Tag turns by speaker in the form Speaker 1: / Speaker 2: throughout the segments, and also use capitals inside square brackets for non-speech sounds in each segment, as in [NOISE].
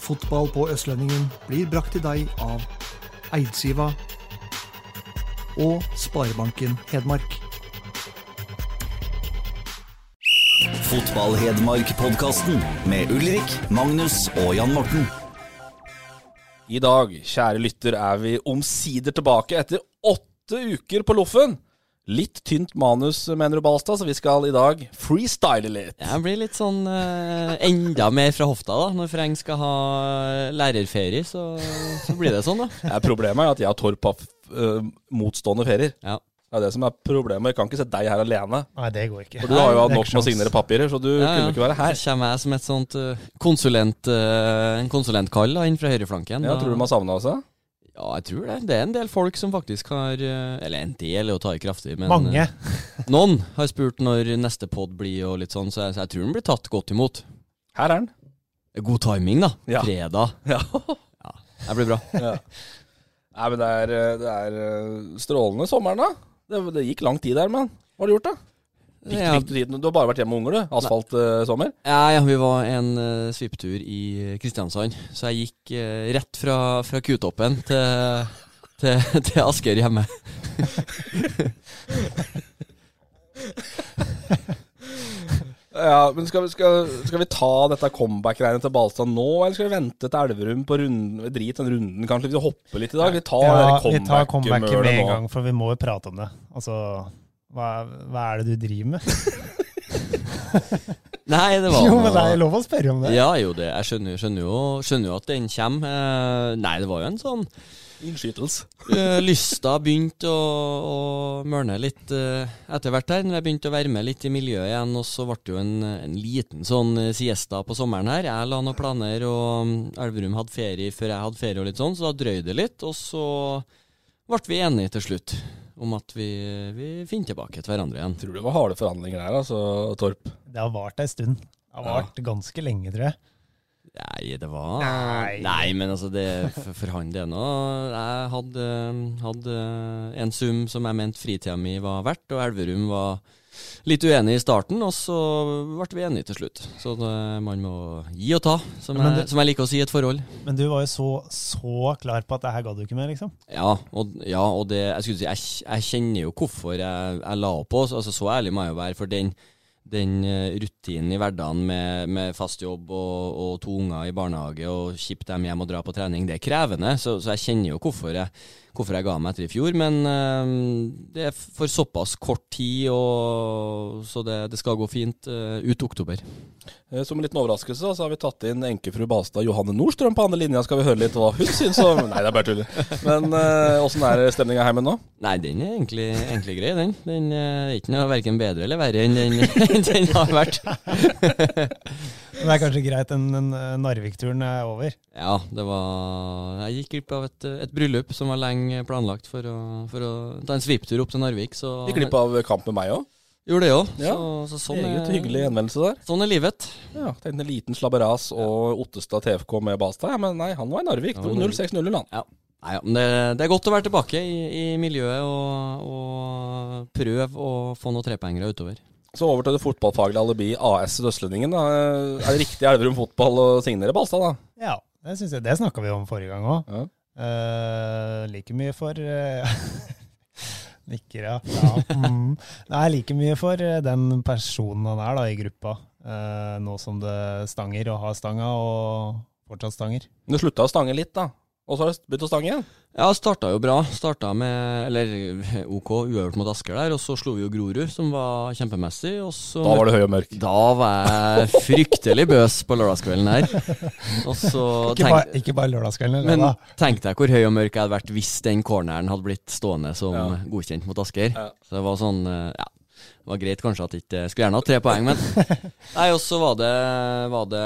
Speaker 1: Fotball på Østlendingen blir brakt til deg av Eidsiva og Sparebanken Hedmark.
Speaker 2: Fotball-Hedmark-podkasten med Ulrik, Magnus og Jan Morten.
Speaker 3: I dag, kjære lytter, er vi omsider tilbake etter åtte uker på loffen. Litt tynt manus, mener du, Balstad, så vi skal i dag freestyle litt.
Speaker 4: Jeg blir litt sånn eh, enda mer fra hofta, da. Når Freng skal ha eh, lærerferie, så, så blir det sånn, da.
Speaker 3: Det er problemet er at jeg og Torp har eh, motstående ferier.
Speaker 4: Ja.
Speaker 3: Det er det som er problemet. Jeg kan ikke sette deg her alene.
Speaker 5: Nei, det går ikke.
Speaker 3: For du har jo hatt
Speaker 5: Det er
Speaker 3: nok med
Speaker 5: ikke
Speaker 3: å
Speaker 5: sjans.
Speaker 3: signere papirer, så [LAUGHS] du
Speaker 4: Ja, ja.
Speaker 3: kunne ikke være her.
Speaker 4: Så kommer jeg som et sånt eh, konsulent, eh, en konsulentkall da, inn fra høyreflanken.
Speaker 3: Ja,
Speaker 4: Da-
Speaker 3: tror du de har savna oss? ja?
Speaker 4: Ja, jeg tror det. Det er en del folk som faktisk har eh, Eller en del er å ta i kraftig, men
Speaker 5: Mange.
Speaker 4: eh, noen har spurt når neste pod blir og litt sånn, så jeg, så jeg tror den blir tatt godt imot.
Speaker 3: Her er den.
Speaker 4: God timing, da.
Speaker 3: Ja.
Speaker 4: Fredag.
Speaker 3: Ja. [LAUGHS]
Speaker 4: Det blir bra.
Speaker 3: Nei, men det er, eh, det er eh, strålende sommeren, da. Det, det gikk lang tid der, men hva har du gjort, da? Fikk,
Speaker 4: Ja.
Speaker 3: fikk du tiden? Du har bare vært hjemme med unger, du. eh, Asfaltsommer.
Speaker 4: Ja, ja, vi var en uh, svipptur i Kristiansand, så jeg gikk eh, rett fra, fra Kutoppen til, til, [LAUGHS] til Asker hjemme.
Speaker 3: Ja, men skal, vi- skal, skal vi ta dette comeback-greiene til Balstad nå, eller skal vi vente til Elverum på runden? Drit den runden, kanskje. Vi hopper litt i dag. Vi tar
Speaker 5: Ja,
Speaker 3: det
Speaker 5: vi tar comebacket med
Speaker 3: comeback-mølet
Speaker 5: en
Speaker 3: nå.
Speaker 5: gang, for vi må jo prate om det. Altså, hva, hva er det du driver med?
Speaker 4: Nei, det var
Speaker 5: Jo, men det er lov å spørre om det.
Speaker 4: Ja, jo, det, jeg skjønner, skjønner, jo, skjønner jo at den kommer. Eh, nei, det var jo en sånn
Speaker 3: Innskytelse.
Speaker 4: eh, Lysta begynte å, å mørne litt eh, etter hvert her, når jeg begynte å være med litt i miljøet igjen. Og så ble det jo en, en liten sånn eh, siesta på sommeren her. Jeg la noen planer, og mm, Elverum hadde ferie før jeg hadde ferie, og litt sånn, så da drøy det litt. Og så ble vi enige til slutt om at vi, vi finner tilbake til hverandre igjen.
Speaker 3: Tror du det var harde forhandlinger der, altså, Torp?
Speaker 5: Det har vart ei stund. Det har vart ganske lenge, tror jeg.
Speaker 4: Nei, det var
Speaker 5: Nei.
Speaker 4: men altså, det for, for han det nå Jeg hadde, hadde en sum som jeg mente fritida mi var verdt, og Elverum var litt uenig i starten, og så ble vi enige til slutt. Så det, man må gi og ta, som,
Speaker 5: Men
Speaker 4: jeg,
Speaker 5: det-
Speaker 4: som jeg liker å si i et forhold.
Speaker 5: Men du var jo så, så klar på at det her ga du ikke med, liksom.
Speaker 4: Ja, og, ja, og det, jeg skulle si, jeg, jeg kjenner jo hvorfor jeg, jeg la opp oss. Altså, så ærlig må jeg jo være, for den, den eh, rutinen i hverdagen med, med fast jobb og, og to unger i barnehage og kjipt dem hjem og dra på trening, det er krevende. Så, så jeg kjenner jo hvorfor jeg, hvorfor jeg ga meg etter i fjor. Men eh, det er for såpass kort tid, og, så det, det skal gå fint eh, ut oktober.
Speaker 3: Eh, Som en liten overraskelse da, så har vi tatt inn enkefru Balstad Johanne Nordstrøm på andre linja. Skal vi høre litt hva hun syns om Nei, det er bare tull. Men eh, åssen er stemninga hjemme nå?
Speaker 4: Nei, den er egentlig, egentlig grei, den. Den eh, er ikke noe verken bedre eller verre enn den, [LAUGHS] enn den har vært.
Speaker 5: Men det er kanskje greit en, en eh, Narvik-turen er over.
Speaker 4: Ja, det var Jeg gikk glipp av et, et bryllup som var lenge planlagt for å, for å ta en sviptur opp til Narvik. Så
Speaker 3: Gikk glipp av kamp med meg òg.
Speaker 4: Gjorde det òg.
Speaker 3: Ja,
Speaker 4: Så, så sånn,
Speaker 3: Eget
Speaker 4: er,
Speaker 5: Eh.
Speaker 3: hyggelig henvendelse der.
Speaker 4: sånn er livet.
Speaker 3: Ja, Tenkte en liten slabberas og Ottestad TFK med Balstad. Ja, men nei, han var i Narvik.
Speaker 4: Han var i Narvik.
Speaker 3: 0-6-0-0, han.
Speaker 4: Ja. Nei, ja, men det, det er godt å være tilbake i, i miljøet og, og prøve å få noen trepoengere utover.
Speaker 3: Så over til det fotballfaglige alibi AS Sør-Østlendingen. da. Eh, Er det riktig Elverum fotball å signere Balstad, da?
Speaker 5: Ja, det, synes jeg, det snakka vi om forrige gang òg.
Speaker 3: Ja.
Speaker 5: like mye for eh, [LAUGHS] Nikker, ja. ja. Mm. Nei, like mye for eh, den personen han er da, i gruppa, eh, nå som det stanger og har stanga, og fortsatt stanger.
Speaker 3: Men det slutta å stange litt, da. Og så har det begynt å stange igjen.
Speaker 4: Ja, starta jo bra. Starta med Eller [LAUGHS] OK, uøvert mot Asker der. Og så slo vi jo Grorud, som var kjempemessig. Og så
Speaker 3: Da var det høy og mørk.
Speaker 4: Da var jeg fryktelig bøs på lørdagskvelden her.
Speaker 3: [LAUGHS]
Speaker 4: Og så
Speaker 5: Ikke,
Speaker 4: tenkte
Speaker 5: bare, ikke bare lørdagskvelden,
Speaker 4: Men
Speaker 5: eller hva?
Speaker 4: tenk deg hvor høy og mørk jeg hadde vært hvis den corneren hadde blitt stående som godkjent mot Asker.
Speaker 3: Ja.
Speaker 4: Så det var sånn eh, ja. Det var greit kanskje at ikke Skulle gjerne hatt tre poeng,
Speaker 5: [LAUGHS]
Speaker 4: men Nei, og så var det, var det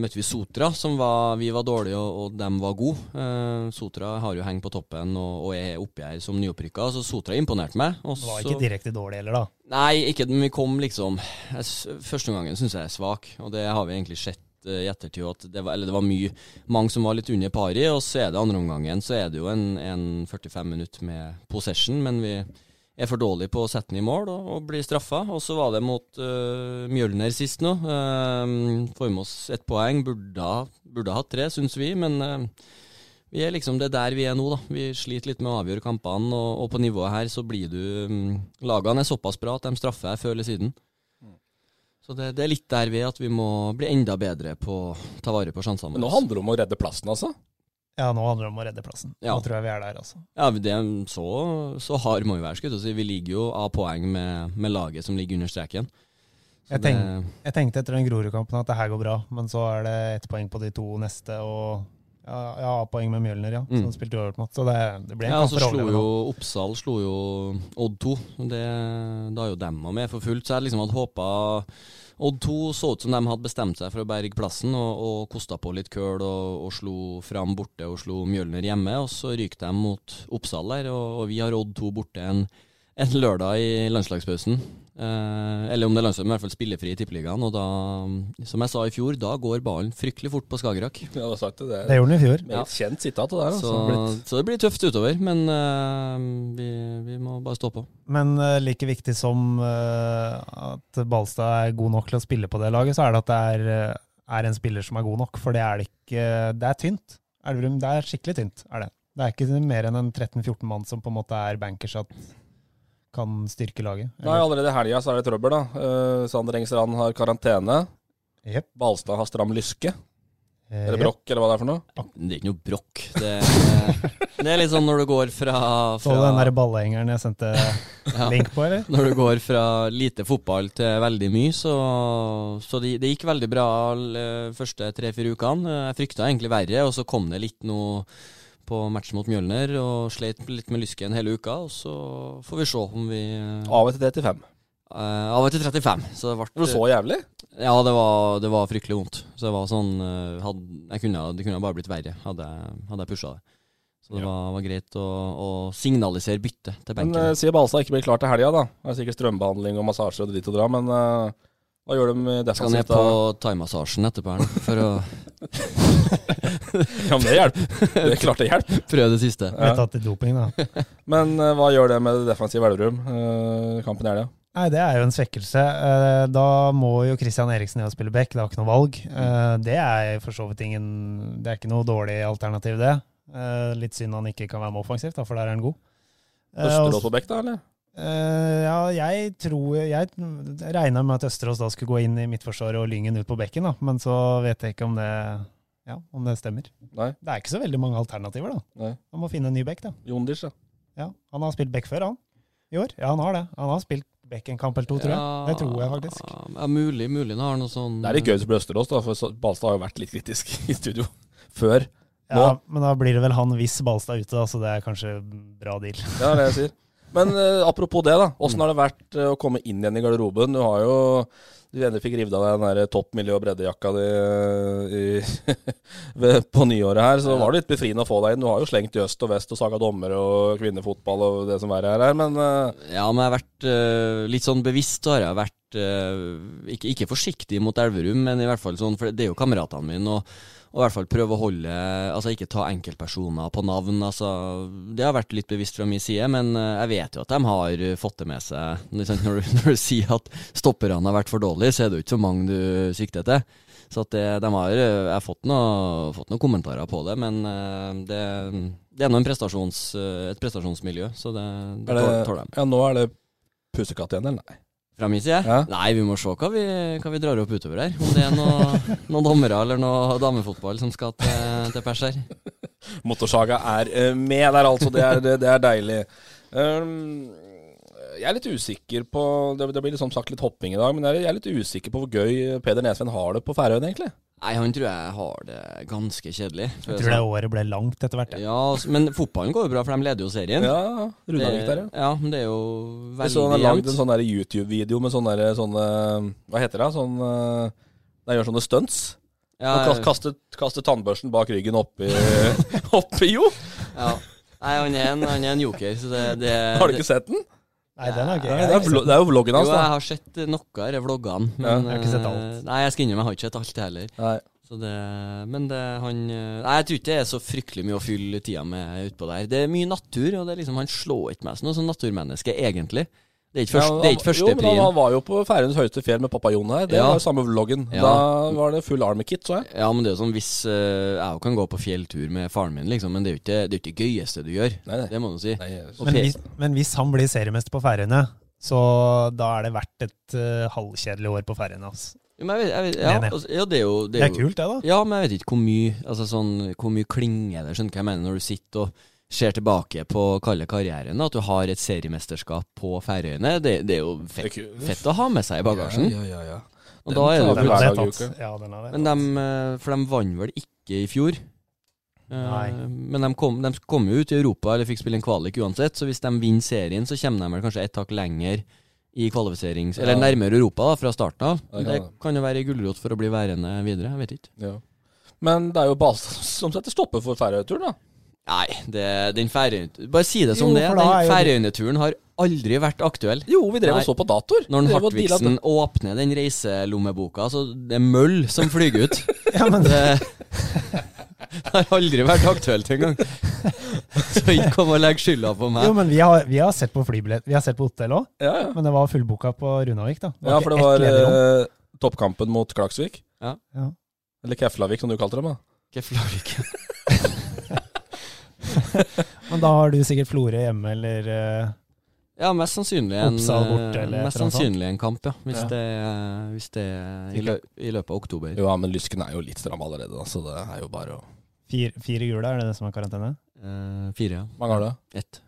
Speaker 4: Møtte vi Sotra, som var Vi var dårlige, og, og dem var gode. Eh, Sotra har jo hengt på toppen og, og er oppi her som nyopprykka, så Sotra imponerte meg. Og
Speaker 5: Det var
Speaker 4: så-
Speaker 5: ikke direkte dårlig heller, da.
Speaker 4: Nei, ikke men vi kom liksom jeg, s- Første omgangen syns jeg er svak, og det har vi egentlig sett eh, i ettertid. At det var, eller det var mye, mange som var litt under par i, og så er det andre omgangen så er det jo en, en 45 minutter med possession, men vi er for dårlige på å sette den i mål og, og blir straffa. Og så var det mot eh, Mjølner sist nå. Eh, Får med oss ett poeng. Burde, ha- burde ha hatt tre, syns vi, men eh, vi er liksom det er der vi er nå, da. Vi sliter litt med å avgjøre kampene, og, og på nivået her så blir du mm, Lagene er såpass bra at de straffer deg før eller siden.
Speaker 3: Mm.
Speaker 4: Så det, det er litt der vi er, at vi må bli enda bedre på å ta vare på sjansene
Speaker 3: Men nå handler det om å redde plassen, altså.
Speaker 5: Ja, nå handler det om å redde plassen.
Speaker 4: Ja.
Speaker 5: Nå tror jeg vi er der, altså.
Speaker 4: Ja, men det, så, så hard må vi være, skulle jeg til å si. Vi ligger jo av poeng med, med laget som ligger under streken. Så
Speaker 5: Jeg tenk- Jeg tenkte etter den Grorud-kampen at det her går bra, men så er det ett poeng på de to neste, og ja, ja poeng med Mjølner, ja,
Speaker 4: Mm.
Speaker 5: som spilte uavgjort mot. Så det, det ble en
Speaker 4: Ja,
Speaker 5: kamp
Speaker 4: så
Speaker 5: for å
Speaker 4: slo
Speaker 5: overleve
Speaker 4: jo
Speaker 5: nå.
Speaker 4: Oppsal slo jo Odd 2. Det, da er jo dem også med for fullt. Så jeg liksom hadde håpa Odd 2 så ut som de hadde bestemt seg for å berge plassen og, og kosta på litt køl og, og slo fram borte og slo Mjølner hjemme. Og så ryker de mot Oppsal der, og, og vi har Odd 2 borte en, en lørdag i landslagspausen. Eh, eller om det er landslag, men i hvert fall spillefri i Tippeligaen. Og da, som jeg sa i fjor, da går ballen fryktelig fort på Skagerrak.
Speaker 3: Jeg hadde sagt det. Det
Speaker 5: Det
Speaker 3: er
Speaker 5: gjorde den i fjor.
Speaker 3: et meget kjent sitat, det der.
Speaker 4: Så,
Speaker 3: Altså. Blitt-
Speaker 4: så det blir tøft utover, men eh, vi, vi må bare stå på.
Speaker 5: Men eh, like viktig som eh, at Balstad er god nok til å spille på det laget, så er det at det er, eh, er en spiller som er god nok, for det er det ikke Det er tynt. Elverum, det er skikkelig tynt, er det. Det er ikke mer enn en 13-14 mann som på en måte er bankers at kan styrke laget.
Speaker 3: Nei, allerede i helga så er det trøbbel, da. Eh, Sander Engstrand har karantene.
Speaker 5: Jep.
Speaker 3: Balstad har stram lyske.
Speaker 5: Eh,
Speaker 3: Eller brokk, eller hva det er for noe.
Speaker 4: Det er ikke noe brokk. Det, det er litt sånn når du går fra,
Speaker 5: Så du den
Speaker 4: fra
Speaker 5: der ballehengeren jeg sendte
Speaker 4: [LAUGHS] Ja.
Speaker 5: link på, eller?
Speaker 4: Når du går fra lite fotball til veldig mye, så, så det, det gikk veldig bra de første tre-fire ukene. Jeg frykta egentlig verre, og så kom det litt nå på matchen mot Mjølner, og sleit litt med lysken hele uka. Og så får vi se om vi eh,
Speaker 3: Av etter 35.
Speaker 4: Av og til 35, så det
Speaker 3: Det
Speaker 4: ble
Speaker 3: var så jævlig.
Speaker 4: Ja, det var, det var fryktelig vondt. Så det var sånn eh, had, jeg kunne, Det kunne bare blitt verre hadde, jeg- hadde jeg pusha det. Så det var, var greit å, å signalisere bytte til
Speaker 3: Men
Speaker 4: benken.
Speaker 3: eh, sier Balstad ikke blir klar til helga, da. Det er sikkert strømbehandling og massasje og dritt og dra, men eh, hva gjør de
Speaker 4: Skal ned
Speaker 3: defensivt
Speaker 4: på
Speaker 3: da?
Speaker 4: thaimassasjen etterpå her nå, for å [LAUGHS]
Speaker 3: Ja, men det [LAUGHS] hjelper. Det er klart det hjelper.
Speaker 4: prøve det siste.
Speaker 5: Ble tatt i doping, da.
Speaker 3: Men eh, hva gjør det med det defensive Elverum, eh, kampen i helga?
Speaker 5: Nei, det er jo en svekkelse. Eh, Da må jo Christian Eriksen ned og spille back, det har ikke noe valg. Eh, Det er for så vidt ingen Det er ikke noe dårlig alternativ, det. Eh, Litt synd han ikke kan være med offensivt, da, for der er han god. Eh,
Speaker 3: Østerås
Speaker 5: og-
Speaker 3: på bekk, da, eller?
Speaker 5: Eh, Ja, jeg tror Jeg regna med at Østerås da skulle gå inn i midtforsvaret og Lyngen ut på bekken, da, men så vet jeg ikke om det Ja, om det stemmer.
Speaker 3: Nei.
Speaker 5: Det er ikke så veldig mange alternativer, da.
Speaker 3: Nei.
Speaker 5: Man må finne en ny bekk, da.
Speaker 3: Jondish, da.
Speaker 5: Ja, han har spilt back før, han. I år. Ja, han har det. Han har spilt back en kamp eller to, tror jeg.
Speaker 4: Ja,
Speaker 5: Det tror jeg faktisk.
Speaker 4: Ja, mulig, mulig han har noe sånn
Speaker 3: Det er litt gøy hvis det blir Østerås, da, for så- Balstad har jo vært litt kritisk [LAUGHS] i studio før. Nå?
Speaker 5: Ja, men da blir det vel han hvis Balstad er ute, da, så det er kanskje bra deal.
Speaker 3: Ja, det er det jeg sier. Men eh, apropos det, da. Åssen har det vært eh, å komme inn igjen i garderoben? Du har jo Du endelig fikk revet av deg den der topp miljø- og breddejakka di eh, i, [LAUGHS] ved, på nyåret her, så var det litt befriende å få deg inn. Du har jo slengt i øst og vest og saga dommere og kvinnefotball og det som verre er her, men eh,
Speaker 4: Ja, men jeg har vært eh, litt sånn bevisst har jeg vært eh, ikke, ikke forsiktig mot Elverum, men i hvert fall sånn, for det er jo kameratene mine, og, og i hvert fall prøve å holde Altså ikke ta enkeltpersoner på navn, altså. Det har vært litt bevisst fra min side, men eh, jeg vet jo at de har eh, fått det med seg. Ikke sant, Når du, [LAUGHS] når du sier at stopperne har vært for dårlige, så er det jo ikke så mange du sikter til. Så at det, de har, eh, jeg har fått, noe, fått noen kommentarer på det, men eh, det, det er nå en prestasjons, eh, et prestasjonsmiljø, så det,
Speaker 3: er
Speaker 4: det, tål-
Speaker 3: det,
Speaker 4: tåler de.
Speaker 3: ja, nå er det pusekatt igjen, eller? Nei.
Speaker 4: Fra min side?
Speaker 3: Ja.
Speaker 4: Nei, vi må se hva vi, hva vi drar opp utover her. Om det er
Speaker 3: [LAUGHS]
Speaker 4: noe, noen dommere eller noe damefotball som skal til, til pers her.
Speaker 3: Motorsaga er eh, med der, altså. Det er, det er deilig. Um, jeg er litt usikker på Det, det blir liksom sagt litt hopping i dag, men jeg er- jeg er litt usikker på hvor gøy Peder Nesven har det på Færøyene, egentlig.
Speaker 4: Nei, han tror jeg har det ganske kjedelig. for å
Speaker 5: Jeg
Speaker 4: si
Speaker 5: tror det året ble langt etter hvert.
Speaker 4: det.
Speaker 5: jeg.
Speaker 4: Ja, altså, men fotballen går jo bra, for de leder jo serien.
Speaker 3: Ja, Runavik der, ja.
Speaker 4: ja. Men det er jo
Speaker 3: Jeg
Speaker 4: veldig
Speaker 3: så han har lagd
Speaker 4: jevnt.
Speaker 3: en sånn der YouTube-video med sånne, der, sånne Hva heter det? Sånn eh, De gjør sånne stunts.
Speaker 4: Ja,
Speaker 3: Og kaster, kaster tannbørsten bak ryggen oppi, [LAUGHS] oppi jo.
Speaker 4: ja. Nei, han er en, han er en joker, så det, det
Speaker 3: [LAUGHS] Har du ikke sett den?
Speaker 5: Nei, den er gøy.
Speaker 3: Det er, vlo- det er jo vloggen hans,
Speaker 4: Jo, jeg
Speaker 3: da.
Speaker 4: har sett eh, noe av de vloggene. Men,
Speaker 3: Ja,
Speaker 5: jeg har ikke sett alt.
Speaker 4: eh, Nei, jeg skal innrømme, jeg har ikke sett alt det heller.
Speaker 3: Nei.
Speaker 4: Så det, men det, han eh, Nei, jeg tror ikke det er så fryktelig mye å fylle tida med utpå der. Det er mye natur, og det er liksom, han slår ikke meg som noe sånn naturmenneske, egentlig. Det er ikke, først,
Speaker 3: Ja,
Speaker 4: det er ikke
Speaker 3: Jo, men han-
Speaker 4: førsteprien.
Speaker 3: han var jo på Færøyens høyeste fjell med pappa Jon her. Det
Speaker 4: Ja.
Speaker 3: var jo samme vloggen.
Speaker 4: Ja.
Speaker 3: Da var det full army kit, så jeg.
Speaker 4: Ja, men det er jo sånn hvis eh, Jeg jo kan gå på fjelltur med faren min, liksom, men det er jo ikke det er jo ikke det gøyeste du gjør.
Speaker 3: Nei, nei.
Speaker 4: Det må du si.
Speaker 3: Nei,
Speaker 4: Og
Speaker 5: Men
Speaker 4: fe-
Speaker 5: hvis, men hvis han blir seriemester på Færøyene, så da er det verdt et eh, halvkjedelig år på Færøyene. Altså.
Speaker 4: Jo, men jeg vet, jeg vet, ja,
Speaker 5: Enig.
Speaker 4: altså, ja, det er jo
Speaker 5: Det er
Speaker 4: jo-
Speaker 5: kult, det, da.
Speaker 4: Ja, men jeg vet ikke hvor mye altså sånn, Hvor mye klinger det, skjønner du hva jeg mener, når du sitter og ser tilbake på kalde karrieren, at du har et seriemesterskap på Færøyene, det, det er jo
Speaker 3: Det er
Speaker 4: fett,
Speaker 3: kult.
Speaker 4: fett å ha med seg i bagasjen.
Speaker 3: Ja, ja, ja.
Speaker 4: Og da er
Speaker 3: Den
Speaker 4: det jo
Speaker 5: Den
Speaker 3: tar hver
Speaker 4: plutselig
Speaker 5: har
Speaker 3: dag
Speaker 5: jeg
Speaker 3: i
Speaker 5: tatt.
Speaker 3: uka.
Speaker 5: Ja, den har jeg
Speaker 4: men
Speaker 5: tatt.
Speaker 4: dem, eh, For de vant vel ikke i fjor? Eh,
Speaker 5: Nei.
Speaker 4: Men de kom, de kom jo ut i Europa eller fikk spille en kvalik uansett, så hvis de vinner serien, så kommer de vel kanskje et tak lenger i kvalifiserings... Eller
Speaker 3: Ja.
Speaker 4: nærmere Europa da, fra starten av.
Speaker 3: Ja, det kan
Speaker 4: Det
Speaker 3: det.
Speaker 4: kan jo være en gulrot for å bli værende videre, jeg vet ikke.
Speaker 3: Ja. Men det er jo Balstad [LAUGHS] som setter stopper for Færøyturen, da.
Speaker 4: Nei, det, den færøyne... Bare si det som
Speaker 5: Jo,
Speaker 4: det er.
Speaker 5: for da er
Speaker 4: Den
Speaker 5: jo-
Speaker 4: færøyneturen har aldri vært aktuell.
Speaker 3: Jo, vi drev
Speaker 4: Nei.
Speaker 3: og så på datoer.
Speaker 4: Når den
Speaker 3: Vi drev og dealet-
Speaker 4: Hartvigsen åpner den reiselommeboka, så det er møll som flyger ut.
Speaker 5: [LAUGHS] Ja,
Speaker 3: [LAUGHS]
Speaker 5: men
Speaker 4: Det [LAUGHS] har aldri vært aktuelt engang. [LAUGHS] Så ikke kom og legg skylda på
Speaker 5: Jo,
Speaker 4: meg.
Speaker 5: men vi har, vi har sett på flybillett, vi har sett på hotell òg,
Speaker 3: Ja, ja.
Speaker 5: men det var fullboka på Runavik, da.
Speaker 3: ja, for det
Speaker 5: ikke
Speaker 3: var
Speaker 5: ett lederrom.
Speaker 3: eh, toppkampen mot Klaksvik.
Speaker 4: Ja.
Speaker 5: Ja.
Speaker 3: Eller Keflavik, som du kalte dem. da.
Speaker 4: Ikke flag- ikke.
Speaker 5: Men da har du sikkert Florø hjemme, eller eh,
Speaker 4: Ja, mest sannsynlig en,
Speaker 5: Oppsal borte,
Speaker 4: eh, mest
Speaker 5: eller et eller annet
Speaker 4: sannsynlig en kamp, ja. Hvis
Speaker 5: Ja.
Speaker 4: det, er- hvis det er i, lø i løpet av oktober.
Speaker 3: Jo, ja, men Lysken er jo litt stram allerede, da, så det er jo bare å
Speaker 5: fire, fire gule, er det det som er karantene?
Speaker 4: Eh, fire, ja.
Speaker 3: Mange har det?
Speaker 4: Ett.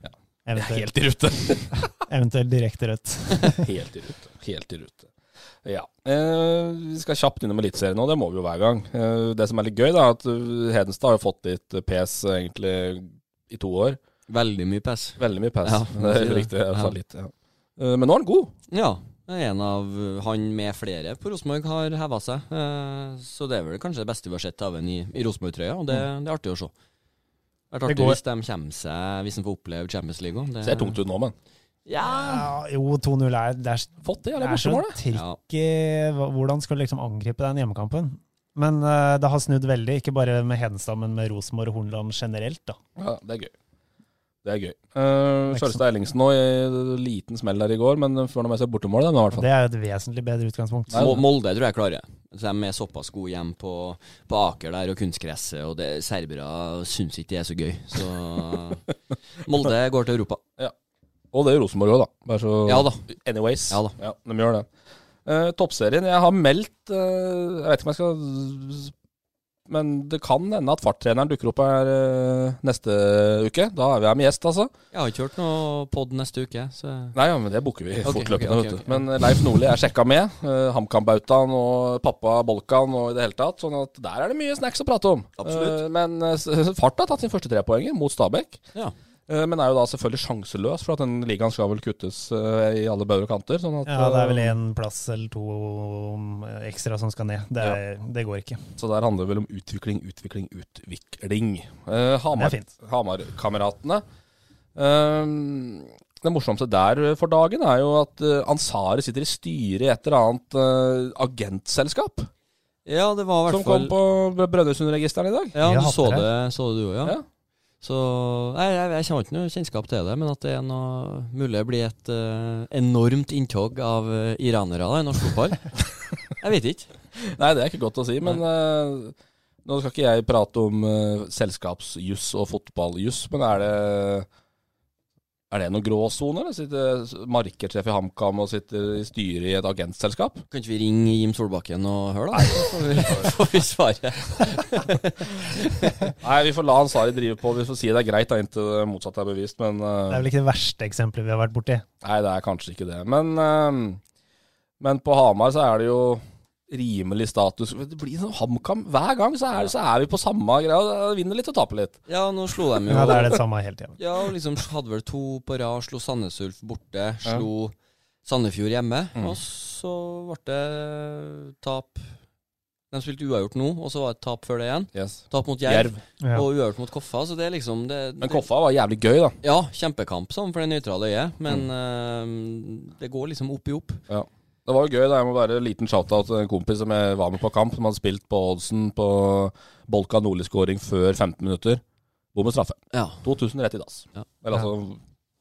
Speaker 5: Eventuelt,
Speaker 3: i rute.
Speaker 5: eventuelt direkte rødt.
Speaker 3: Helt i rute. Helt i rute. Ja. Eh, vi skal kjapt innom Eliteserien nå, det må vi jo hver gang. Eh, det som er litt gøy, da, er at eh, Hedenstad har jo fått litt eh, pes eh, egentlig i to år.
Speaker 4: Veldig mye pes.
Speaker 3: Veldig mye pes.
Speaker 4: Ja,
Speaker 3: [LAUGHS] det er
Speaker 4: si det.
Speaker 3: riktig. Jeg
Speaker 4: Ja.
Speaker 3: sa litt, ja. Eh, men nå er han god.
Speaker 4: Ja. det er En av han med flere på Rosenborg har heva seg. eh, Så det er vel kanskje det beste vi har sett av en i, i Rosenborg-trøya, og det, det er artig å se. Det er
Speaker 5: Det
Speaker 4: artig
Speaker 5: går-
Speaker 4: hvis de kommer seg, hvis de får oppleve Champions League òg.
Speaker 3: Ser tungt ut nå, men.
Speaker 4: Ja.
Speaker 5: Ja, jo, 2-0 er Det er,
Speaker 3: Fått det,
Speaker 5: Ah. det
Speaker 3: eller
Speaker 5: er så
Speaker 3: bortemål, det?
Speaker 5: trikk
Speaker 4: Ja.
Speaker 5: i hva- Hvordan skal du liksom angripe den hjemmekampen? Men eh, det har snudd veldig, ikke bare med Hedenstad, men med Rosenborg og Hornland generelt. da.
Speaker 3: Ja, det er gøy. Det er gøy. Eh, Sjølstad Ellingsen nå, i liten smell der i går, men får nå med seg bortemål, den, i hvert fall.
Speaker 5: Det er jo et vesentlig bedre utgangspunkt.
Speaker 3: Nei,
Speaker 4: Mo- Molde tror jeg klarer det. Så De er såpass gode hjem på, på Aker der og kunstgresset, og det, serbere syns ikke det er så gøy. Så Molde går til Europa.
Speaker 3: Og det er Rosenborg òg, da. Bare så
Speaker 4: Ja da.
Speaker 3: Anyways.
Speaker 4: Ja da.
Speaker 3: de gjør det. Eh, toppserien Jeg har meldt eh, Jeg vet ikke om jeg skal Men det kan hende at farttreneren dukker opp her eh, neste uke. Da er vi her med gjest, altså.
Speaker 4: Jeg har ikke hørt noe pod neste uke, så
Speaker 3: Nei, ja, men det booker vi
Speaker 4: Ok,
Speaker 3: fortløpende.
Speaker 4: ok, ok,
Speaker 3: vet
Speaker 4: ok.
Speaker 3: du. Men eh, Leif Nordli er sjekka med. eh, HamKam-bautaen og pappa Bolkan og i det hele tatt. Sånn at der er det mye snacks å prate om.
Speaker 4: Absolutt.
Speaker 3: Eh, men eh, s- Fart har tatt sin første trepoenger mot Stabæk.
Speaker 4: ja.
Speaker 3: Eh, men er jo da selvfølgelig sjanseløs, for at den ligaen skal vel kuttes eh, i alle bauger og kanter. Sånn at,
Speaker 5: Ja, det er vel
Speaker 3: eh,
Speaker 5: en plass eller to eh, ekstra som skal ned. Det, er, det går ikke.
Speaker 3: Så der handler det vel om utvikling, utvikling, utvikling. Eh,
Speaker 5: Det er
Speaker 3: Hamar-
Speaker 5: fint.
Speaker 3: Hamar-kameratene. Eh, det morsomste der for dagen er jo at eh, Ansari sitter i styret i et eller annet eh, agentselskap
Speaker 4: ja, det var i
Speaker 3: som
Speaker 4: hvert
Speaker 3: kom
Speaker 4: fall
Speaker 3: på Brønnøysundregisteren i dag.
Speaker 4: Ja,
Speaker 5: Vi har
Speaker 4: du
Speaker 5: hatt
Speaker 4: så
Speaker 5: det.
Speaker 4: det, så det du òg, ja.
Speaker 3: Ja.
Speaker 4: Så nei, jeg, jeg har ikke noe kjennskap til det, men at det er noe mulig blir et eh, enormt inntog av eh, iranere da, i norsk
Speaker 5: [LAUGHS]
Speaker 4: fotball. jeg vet ikke.
Speaker 3: Nei, det er ikke godt å si, men eh, nå skal ikke jeg prate om eh, selskapsjuss og fotballjuss, men er det er det noen gråsoner? eller? Sitter markedssjef i HamKam og sitter i styret i et agentselskap?
Speaker 4: Kan ikke vi ringe Jim Solbakken og høre, da? Så får
Speaker 5: [LAUGHS]
Speaker 4: vi- får vi svaret.
Speaker 3: Nei, vi får la Ansari drive på. Vi får si det er greit da, inntil det motsatte er bevist, men eh,
Speaker 5: Det er vel ikke det verste eksempelet vi har vært borti.
Speaker 3: Nei, det er kanskje ikke det. Men, eh, men på Hamar så er det jo rimelig status. Det blir sånn HamKam. Hver gang så er, så er vi på samme greia. Vinner litt og taper litt.
Speaker 4: Ja, nå slo de jo
Speaker 5: Ja, det er det samme hele tida.
Speaker 4: Ja, og liksom hadde vel to på rad. Slo Sandnes Ulf borte, slo Sandefjord hjemme.
Speaker 5: Mm.
Speaker 4: Og så ble det tap. De spilte uavgjort nå, og så var det et tap før det igjen. Tap mot Jerv,
Speaker 3: Jerv.
Speaker 5: Ja.
Speaker 4: og uavgjort mot Koffa. Så det er liksom det,
Speaker 3: Men Koffa var jævlig gøy, da.
Speaker 4: Ja, kjempekamp sånn for det nøytrale øyet, men eh, det går liksom opp i opp.
Speaker 3: Det var jo gøy. da, Jeg må bare en liten shout-out til en kompis som jeg var med på kamp, som hadde spilt på oddsen på Bolka Nordli-skåring før 15 minutter. Bom med straffe.
Speaker 4: Ja.
Speaker 3: 2000 rett i dass.
Speaker 4: Ja.
Speaker 3: Eller altså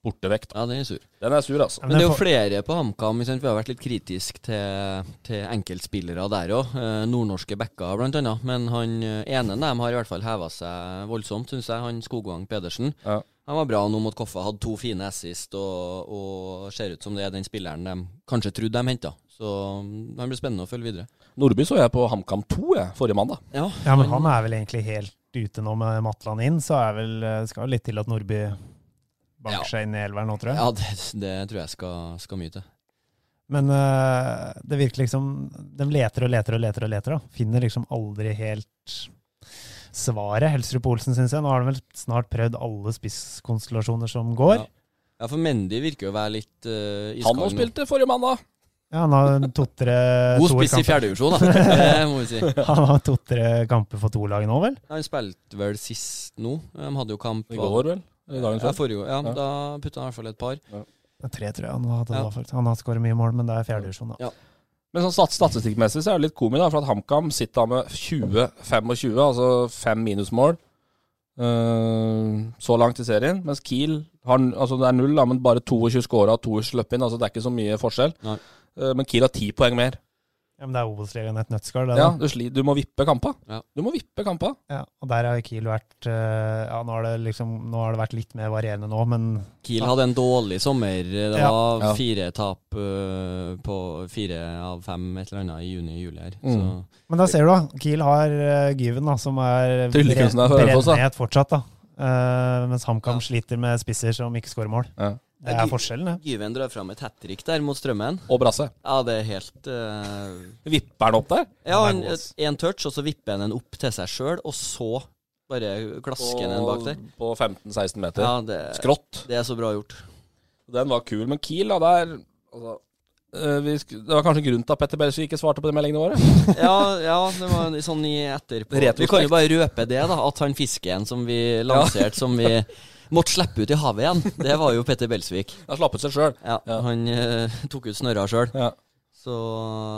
Speaker 3: bortevekt. da.
Speaker 4: ja, den er sur.
Speaker 3: Den er sur, altså.
Speaker 5: Men
Speaker 4: Men det er
Speaker 5: jeg
Speaker 4: jo
Speaker 5: får-
Speaker 4: flere på HamKam. ikke sant? Vi har vært litt kritiske til, til enkeltspillere der òg. Nordnorske backer, blant annet. Men han eh, ene av dem har i hvert fall heva seg voldsomt, syns jeg. Han Skogvang Pedersen.
Speaker 3: Ja.
Speaker 4: Han var bra nå mot Koffa. Hadde to fine assist og, og ser ut som det er den spilleren de kanskje trodde de henta. Så mm, han blir spennende å følge videre.
Speaker 3: Nordby så jeg på HamKam 2 jeg, forrige mandag.
Speaker 4: Ja,
Speaker 5: Ja, men han er vel egentlig helt ute nå med Matland inn, så er vel, eh, skal jo litt til at Nordby banker
Speaker 4: Ja.
Speaker 5: seg inn i elveren nå, tror jeg.
Speaker 4: ja det, det tror jeg skal, skal mye til.
Speaker 5: Men eh, det virker liksom De leter og leter og leter og leter, da. Finner liksom aldri helt svaret. Helserud på Olsen, syns jeg. Nå har han vel snart prøvd alle spisskonstellasjoner som går.
Speaker 4: Ja. Ja, for Mendy virker jo å være litt uh,
Speaker 3: Han òg spilte forrige mandag.
Speaker 5: Ja, han har to-tre
Speaker 4: [LAUGHS] God
Speaker 5: toer
Speaker 4: spiss i
Speaker 5: kamper.
Speaker 4: fjerdedivisjon, da. [LAUGHS] Det må vi si.
Speaker 5: [LAUGHS] Han har to-tre kamper for to lag nå, vel?
Speaker 4: Han spilte vel sist nå. De hadde jo kamp
Speaker 3: I går, vel? Eller dagen
Speaker 4: Ja,
Speaker 3: før.
Speaker 4: forrige år. Ja,
Speaker 3: Ja.
Speaker 4: Da putta han i hvert fall et par.
Speaker 5: Det er Tre, tror jeg han hadde
Speaker 4: Ja.
Speaker 5: da, faktisk. Han har skåret mye mål, men det er fjerdedivisjon, da.
Speaker 3: Men sånn stat- statistikkmessig så er det litt komisk, da, for at HamKam sitter da med 20-25, altså fem minusmål eh, så langt i serien. Mens Kiel har altså det er null, da, men bare 22 skåra og 2 sluppet inn. altså Det er ikke så mye forskjell.
Speaker 4: Nei.
Speaker 3: Eh, men Kiel har ti poeng mer.
Speaker 5: Ja, men det er Obos-ligaen et nøttskall, det.
Speaker 3: Ja,
Speaker 5: da.
Speaker 3: du, sli, du må vippe kampa.
Speaker 4: Ja.
Speaker 3: Du må vippe kampa.
Speaker 5: Ja, og der har jo Kiel vært eh, Ja, nå har det liksom Nå har det vært litt mer varierende nå, men
Speaker 4: Kiel hadde en dårlig sommer. Det
Speaker 5: Ja.
Speaker 4: var
Speaker 3: Ja.
Speaker 4: fire tap øh, på fire av fem et eller annet i juni-juli her.
Speaker 3: Mm.
Speaker 4: Så
Speaker 5: Men da ser du, da. Kiel har uh, Gyven, da, som er
Speaker 3: Tryllekunstner fra Hønefoss, da.
Speaker 5: brennhet fortsatt, da. Eh, mens HamKam sliter med spisser som ikke skårer mål.
Speaker 3: Ja.
Speaker 5: Det
Speaker 4: Ja,
Speaker 5: er
Speaker 4: Gy-
Speaker 5: forskjellen, det.
Speaker 4: Gyven drar fram et hat trick der mot Strømmen.
Speaker 3: Og Brasse.
Speaker 4: Ja, det er helt øh,
Speaker 3: Vipper han opp der?
Speaker 4: Ja, han- en touch, og så vipper han den opp til seg sjøl, og så bare glasker han den bak der.
Speaker 3: på 15-16 meter.
Speaker 4: Ja, det,
Speaker 3: Skrått.
Speaker 4: det er så bra gjort.
Speaker 3: Den var kul, men Kiel da, der altså, eh, vi, sk- Det var kanskje grunnen til at Petter Bergsvik ikke svarte på de meldingene våre.
Speaker 4: Ja, ja, det var en sånn i etterpå.
Speaker 3: Retrospekt.
Speaker 4: Vi kan jo bare røpe det, da. At han fisken som vi lanserte, som vi måtte slippe ut i havet igjen, det var jo Petter Belsvik.
Speaker 3: Han slapp ut seg sjøl.
Speaker 4: Ja,
Speaker 3: Ja.
Speaker 4: Han eh, tok ut snørra sjøl.
Speaker 3: Ja.
Speaker 4: Så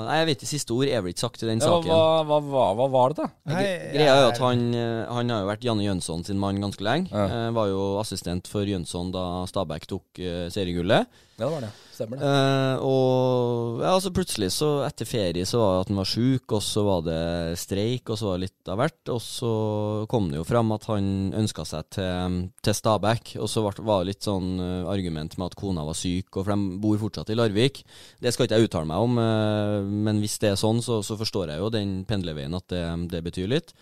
Speaker 4: Nei, jeg vet ikke. Siste ord er vel ikke sagt i den
Speaker 3: Ja, hva,
Speaker 4: saken.
Speaker 3: hva, hva, hva- hva var det, da?
Speaker 4: Greia er jo at han, eh, han har jo vært Janne Jønsson sin mann ganske lenge.
Speaker 3: Ja.
Speaker 4: Eh, var jo assistent for Jønsson da Stabæk tok eh, seriegullet.
Speaker 3: Ja, det var det. Stemmer det.
Speaker 4: Eh, og ja, altså plutselig, så etter ferie, så var det at han var sjuk, og så var det streik, og så var det litt av hvert. Og så kom det jo fram at han ønska seg til, til Stabæk, og så var- var det litt sånn eh, argument med at kona var syk, og for de bor fortsatt i Larvik. Det skal ikke jeg uttale meg om, eh, men hvis det er sånn, så, så forstår jeg jo den pendlerveien at det, det betyr litt.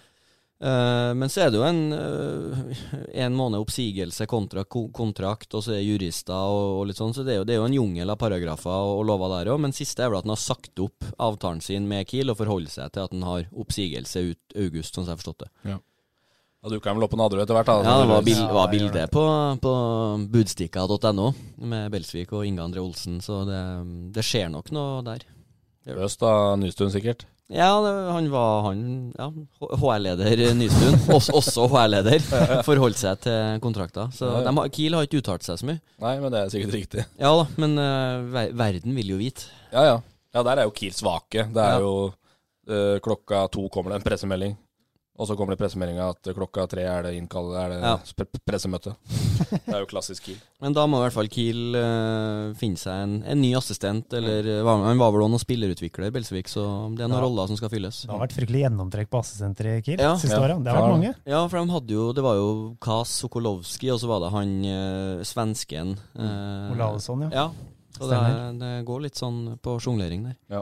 Speaker 4: Eh, men så er det jo en, eh, en måned oppsigelse kontra ko- kontrakt, og så er det jurister og, og litt sånn, så det er, jo, det er jo en jungel av paragrafer og, og lover der òg. Men siste er vel at han har sagt opp avtalen sin med Kiel og forholder seg til at han har oppsigelse ut august, sånn som jeg har forstått det.
Speaker 3: Da dukka han vel opp på Nadderud etter hvert. da.
Speaker 4: Ja, det var, bil,
Speaker 5: Ja,
Speaker 4: var
Speaker 5: det gjør
Speaker 4: bilde på, på budstikka.no med Belsvik og Inge André Olsen, så det, det skjer nok noe der.
Speaker 3: Løst av Nystuen, sikkert.
Speaker 4: Ja, det, han var han, ja, H- HR-leder
Speaker 5: [LAUGHS]
Speaker 4: Nystuen, også, også HR-leder, forholdt seg til kontrakter. Så
Speaker 3: Ja, ja.
Speaker 4: de har- Kiel har ikke uttalt seg så mye.
Speaker 3: Nei, men det er sikkert riktig.
Speaker 4: Ja da, men eh, ver verden vil jo vite.
Speaker 3: Ja, ja. Ja, der er jo Kiel svake. Det er
Speaker 4: Ja.
Speaker 3: jo eh, Klokka to kommer det en pressemelding. Og så kommer det pressemeldinga at klokka tre er det innkall, er det
Speaker 4: Ja.
Speaker 3: sp- pressemøte. Det er jo klassisk Kiel.
Speaker 4: Men da må i hvert fall Kiel eh, finne seg en, en ny assistent, eller eh, hva- han var vel også noen spillerutvikler, Belsvik, så det er noen
Speaker 5: Ja.
Speaker 4: roller som skal fylles.
Speaker 5: Det har vært fryktelig gjennomtrekk på assesenteret i Kiel
Speaker 4: Ja.
Speaker 5: siste
Speaker 3: Ja.
Speaker 5: året. Det har vært
Speaker 3: Ja.
Speaker 5: mange.
Speaker 4: Ja, for de hadde jo, det var jo Kas Sokolowski, og så var det han eh, svensken. eh,
Speaker 5: Olausson, ja.
Speaker 4: Ja, så det, er- det går litt sånn på sjonglering der.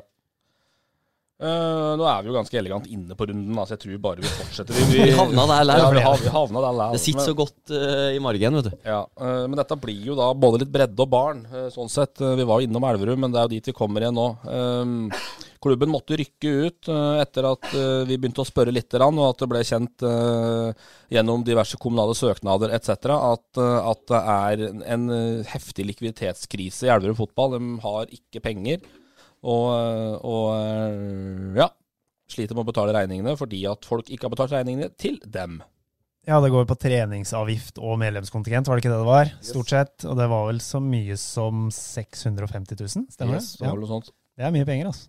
Speaker 3: Eh, nå er vi jo ganske elegant inne på runden, da, så jeg tror bare vi fortsetter. Vi,
Speaker 4: [LAUGHS] Vi havna der,
Speaker 3: Ja, vi
Speaker 4: lær.
Speaker 3: hav- vi havna der lær.
Speaker 4: Det sitter så godt eh, i margen, vet du.
Speaker 3: Ja, eh, men dette blir jo da både litt bredde og barn, eh, sånn sett. Eh, Vi var jo innom Elverum, men det er jo dit vi kommer igjen nå. Um, Klubben måtte rykke ut eh, etter at eh, vi begynte å spørre litt, og at det ble kjent eh, gjennom diverse kommunale søknader etc. At, eh, at det er en- en eh, heftig likviditetskrise i Elverum fotball. De har ikke penger. Og, eh, og eh, ja, sliter med å betale regningene fordi at folk ikke har betalt regningene til dem.
Speaker 5: Ja, det går på treningsavgift og medlemskontingent, var det ikke det det var? Stort sett. Og det var vel så mye som 650 000, stemmer
Speaker 3: Yes,
Speaker 5: det?
Speaker 3: var
Speaker 5: Ja.
Speaker 3: vel noe sånt.
Speaker 5: Det er mye penger, altså.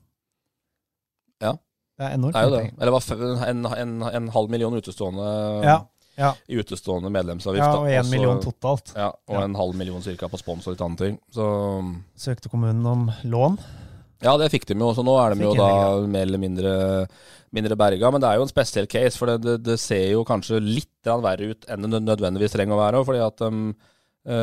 Speaker 3: Ja.
Speaker 5: Det er enormt
Speaker 3: Det er jo
Speaker 5: mye
Speaker 3: det.
Speaker 5: penger.
Speaker 3: Eller det var f- en, en, en halv million utestående,
Speaker 5: Ja, ja.
Speaker 3: i utestående medlemsavgift.
Speaker 5: ja
Speaker 3: da.
Speaker 5: og én
Speaker 3: så-
Speaker 5: million totalt.
Speaker 3: Ja, og
Speaker 5: Ja.
Speaker 3: en halv million cirka på spons og litt andre ting. Så um,
Speaker 5: Søkte kommunen om lån.
Speaker 3: ja, det fikk de jo. Så nå er de
Speaker 5: Fikk
Speaker 3: jo
Speaker 5: en
Speaker 3: da mer eller mindre, mindre berga. Men det er jo en spesiell case, for det, det, det ser jo kanskje litt grann verre ut enn det nødvendigvis trenger å være. Fordi at de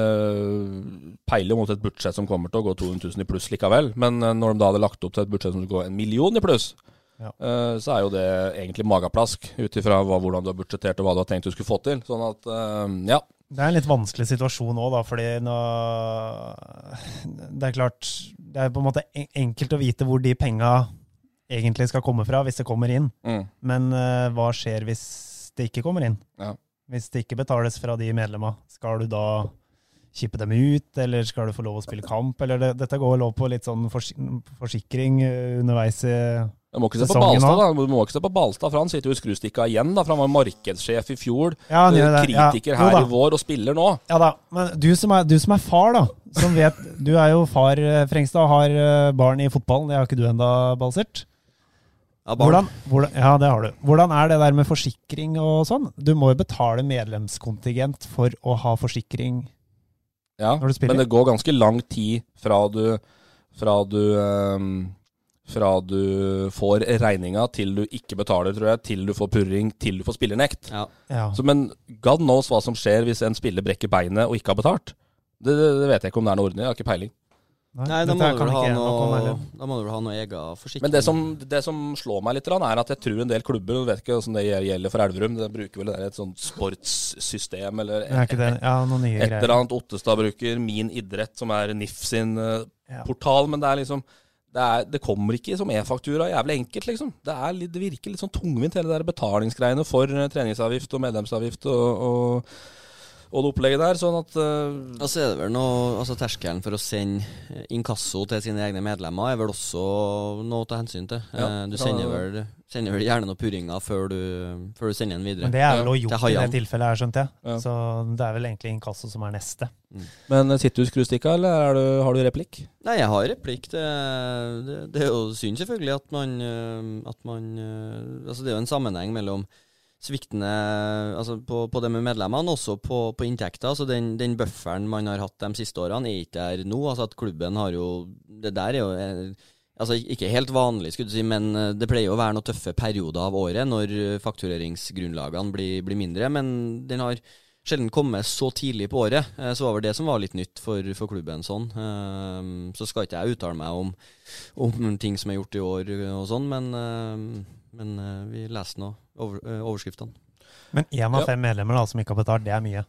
Speaker 3: eh, peiler mot et budsjett som kommer til å gå 200 000 i pluss likevel. Men eh, når de da hadde lagt opp til et budsjett som skulle gå en million i pluss,
Speaker 5: Ja.
Speaker 3: eh, så er jo det egentlig mageplask ut ifra hva- hvordan du har budsjettert og hva du har tenkt du skulle få til. Sånn at, eh, ja.
Speaker 5: Det er en litt vanskelig situasjon òg, da, fordi nå Det er klart Det er på en måte en- enkelt å vite hvor de penga egentlig skal komme fra, hvis det kommer inn.
Speaker 3: Mm.
Speaker 5: Men eh, hva skjer hvis det ikke kommer inn?
Speaker 3: Ja.
Speaker 5: Hvis det ikke betales fra de medlemma, skal du da kippe dem ut, eller skal du få lov å spille kamp? Eller det, dette går lov på litt sånn forsi forsikring eh, underveis i
Speaker 3: Du må ikke se på
Speaker 5: sesongen
Speaker 3: Balstad, da.
Speaker 5: nå.
Speaker 3: Du må ikke se på Balstad, for han sitter jo i skrustikka igjen, da, for han var markedssjef i fjor.
Speaker 5: Ja, han
Speaker 3: eh,
Speaker 5: gjør det. Ja.
Speaker 3: Kritiker
Speaker 5: Jo
Speaker 3: her
Speaker 5: da.
Speaker 3: i vår, og spiller nå.
Speaker 5: Ja da, men du som er, du som er far, da. Som vet, du er jo far, eh, Frengstad, og har eh, barn i fotballen. Det har ikke du enda, Balsert.
Speaker 4: Ja, barn.
Speaker 5: Hvordan, hvordan, ja, det har du. Hvordan er det der med forsikring og sånn? Du må jo betale medlemskontingent for å ha forsikring.
Speaker 3: Ja,
Speaker 5: Når du spiller.
Speaker 3: men det går ganske lang tid fra du Fra du ehm, fra du får regninga til du ikke betaler, tror jeg, til du får purring, til du får spillernekt.
Speaker 4: Ja.
Speaker 5: Ja.
Speaker 3: Så, men god knows hva som skjer hvis en spiller brekker beinet og ikke har betalt. Det, det, det vet jeg ikke om det er noe ordentlig, jeg har ikke peiling.
Speaker 4: Nei, da
Speaker 5: dette
Speaker 4: må, du
Speaker 5: kan
Speaker 4: vel ha
Speaker 5: ikke jeg nok om,
Speaker 4: noe,
Speaker 5: heller.
Speaker 4: da må du vel ha noe egen forsikring.
Speaker 3: Men det som, det som slår meg litt, grann er at jeg tror en del klubber Jeg vet ikke hvordan det gjelder for Elverum. De bruker vel det der et sånt sportssystem eller
Speaker 5: Det er ikke det. Ja, noen nye
Speaker 3: et
Speaker 5: greier.
Speaker 3: eller annet. Ottestad bruker Min idrett, som er NIF sin eh,
Speaker 5: Ja.
Speaker 3: portal. Men det er liksom det, er, det kommer ikke som e-faktura. Jævlig enkelt, liksom. Det, er litt, det virker litt sånn tungvint, hele det der betalingsgreiene for eh, treningsavgift og medlemsavgift og, og, og det opplegget der. Sånn at eh,
Speaker 4: Og så er det vel noe, altså Terskelen for å sende eh, inkasso til sine egne medlemmer er vel også noe å ta hensyn til.
Speaker 3: Ja.
Speaker 4: Eh, Du sender vel, sender vel gjerne noen purringer før du, før du sender den videre.
Speaker 5: Men det er vel å
Speaker 4: Ja, til
Speaker 5: gjort i det
Speaker 4: Hayan.
Speaker 5: tilfellet her, skjønte jeg.
Speaker 3: Ja.
Speaker 5: Så det er vel egentlig inkasso som er neste.
Speaker 3: Men sitter du i skrustikka, eller er du, har du replikk?
Speaker 4: Nei, jeg har replikk. Det, det, det er jo synd selvfølgelig at man, eh, at man eh, Altså, det er jo en sammenheng mellom sviktende Altså på, på det med medlemmene, også på, på inntekter. Altså den, den bufferen man har hatt de siste årene, er ikke der nå. Altså at klubben har jo Det der er jo eh, Altså Ikke helt vanlig, skulle du si, men eh, det pleier jo å være noen tøffe perioder av året når eh, faktureringsgrunnlagene blir, blir mindre. Men den har sjelden komme så tidlig på året. Eh, Så var vel det som var litt nytt for, for klubben sånn. Ehm, Så skal ikke jeg uttale meg om, om ting som er gjort i år eh, og sånn, men, ehm, men eh, vi leser nå over, eh, overskriftene.
Speaker 5: Men én av
Speaker 3: Ja.
Speaker 5: fem medlemmer da, som ikke har betalt, det er mye.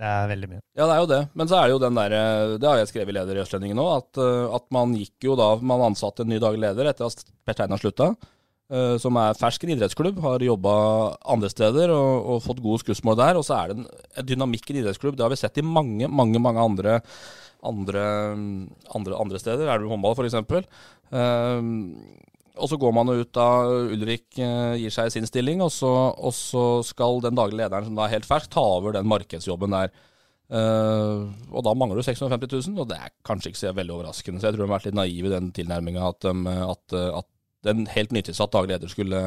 Speaker 5: Det er veldig mye.
Speaker 3: Ja, det er jo det. Men så er det jo den derre Det har jeg skrevet i leder i Østlendingen nå, at, eh, at man gikk jo da Man ansatte en ny daglig leder etter at Per Steinar slutta. eh, Som er fersk i en idrettsklubb, har jobba andre steder og, og fått gode skussmål der. Og så er det en, en dynamikk i en idrettsklubb. Det har vi sett i mange, mange mange andre, andre, andre, andre steder. Er du håndball, f.eks. Og så går man jo ut da Ulrik eh, gir seg sin stilling, og så, og så skal den daglige lederen som da er helt fersk, ta over den markedsjobben der. Eh, og da mangler du 650 000, og det er kanskje ikke så veldig overraskende. Så jeg tror de har vært litt naive i den tilnærminga at, dem, eh, at, eh, at den helt nytilsatt daglig leder skulle,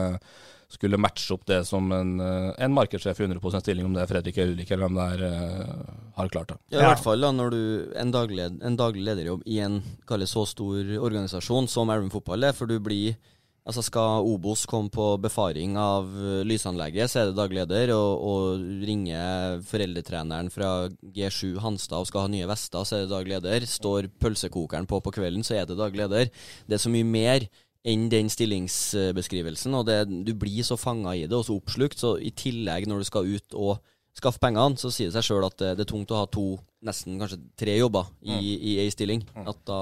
Speaker 3: skulle matche opp det som en, eh, en markedssjef i 100 stilling, om det er Fredrik eller Ulrik eller hvem det er, eh, har klart. Da.
Speaker 4: Ja, I
Speaker 5: Ja.
Speaker 4: hvert fall da når du en daglig, en daglig lederjobb i en kall det så stor organisasjon som Elverum Fotball er, for du blir Altså Skal Obos komme på befaring av eh, lysanlegget, så er det daglig leder, og, og ringer foreldretreneren fra G7 Hanstad og skal ha nye vester, så er det daglig leder. Står pølsekokeren på på kvelden, så er det daglig leder. Det er så mye mer enn den stillingsbeskrivelsen, og det, du blir så fanga i det og så oppslukt, så i tillegg når du skal ut og skaffe pengene, så sier det seg sjøl at eh, det, det er tungt å ha to, nesten kanskje tre jobber i, i ei stilling. At da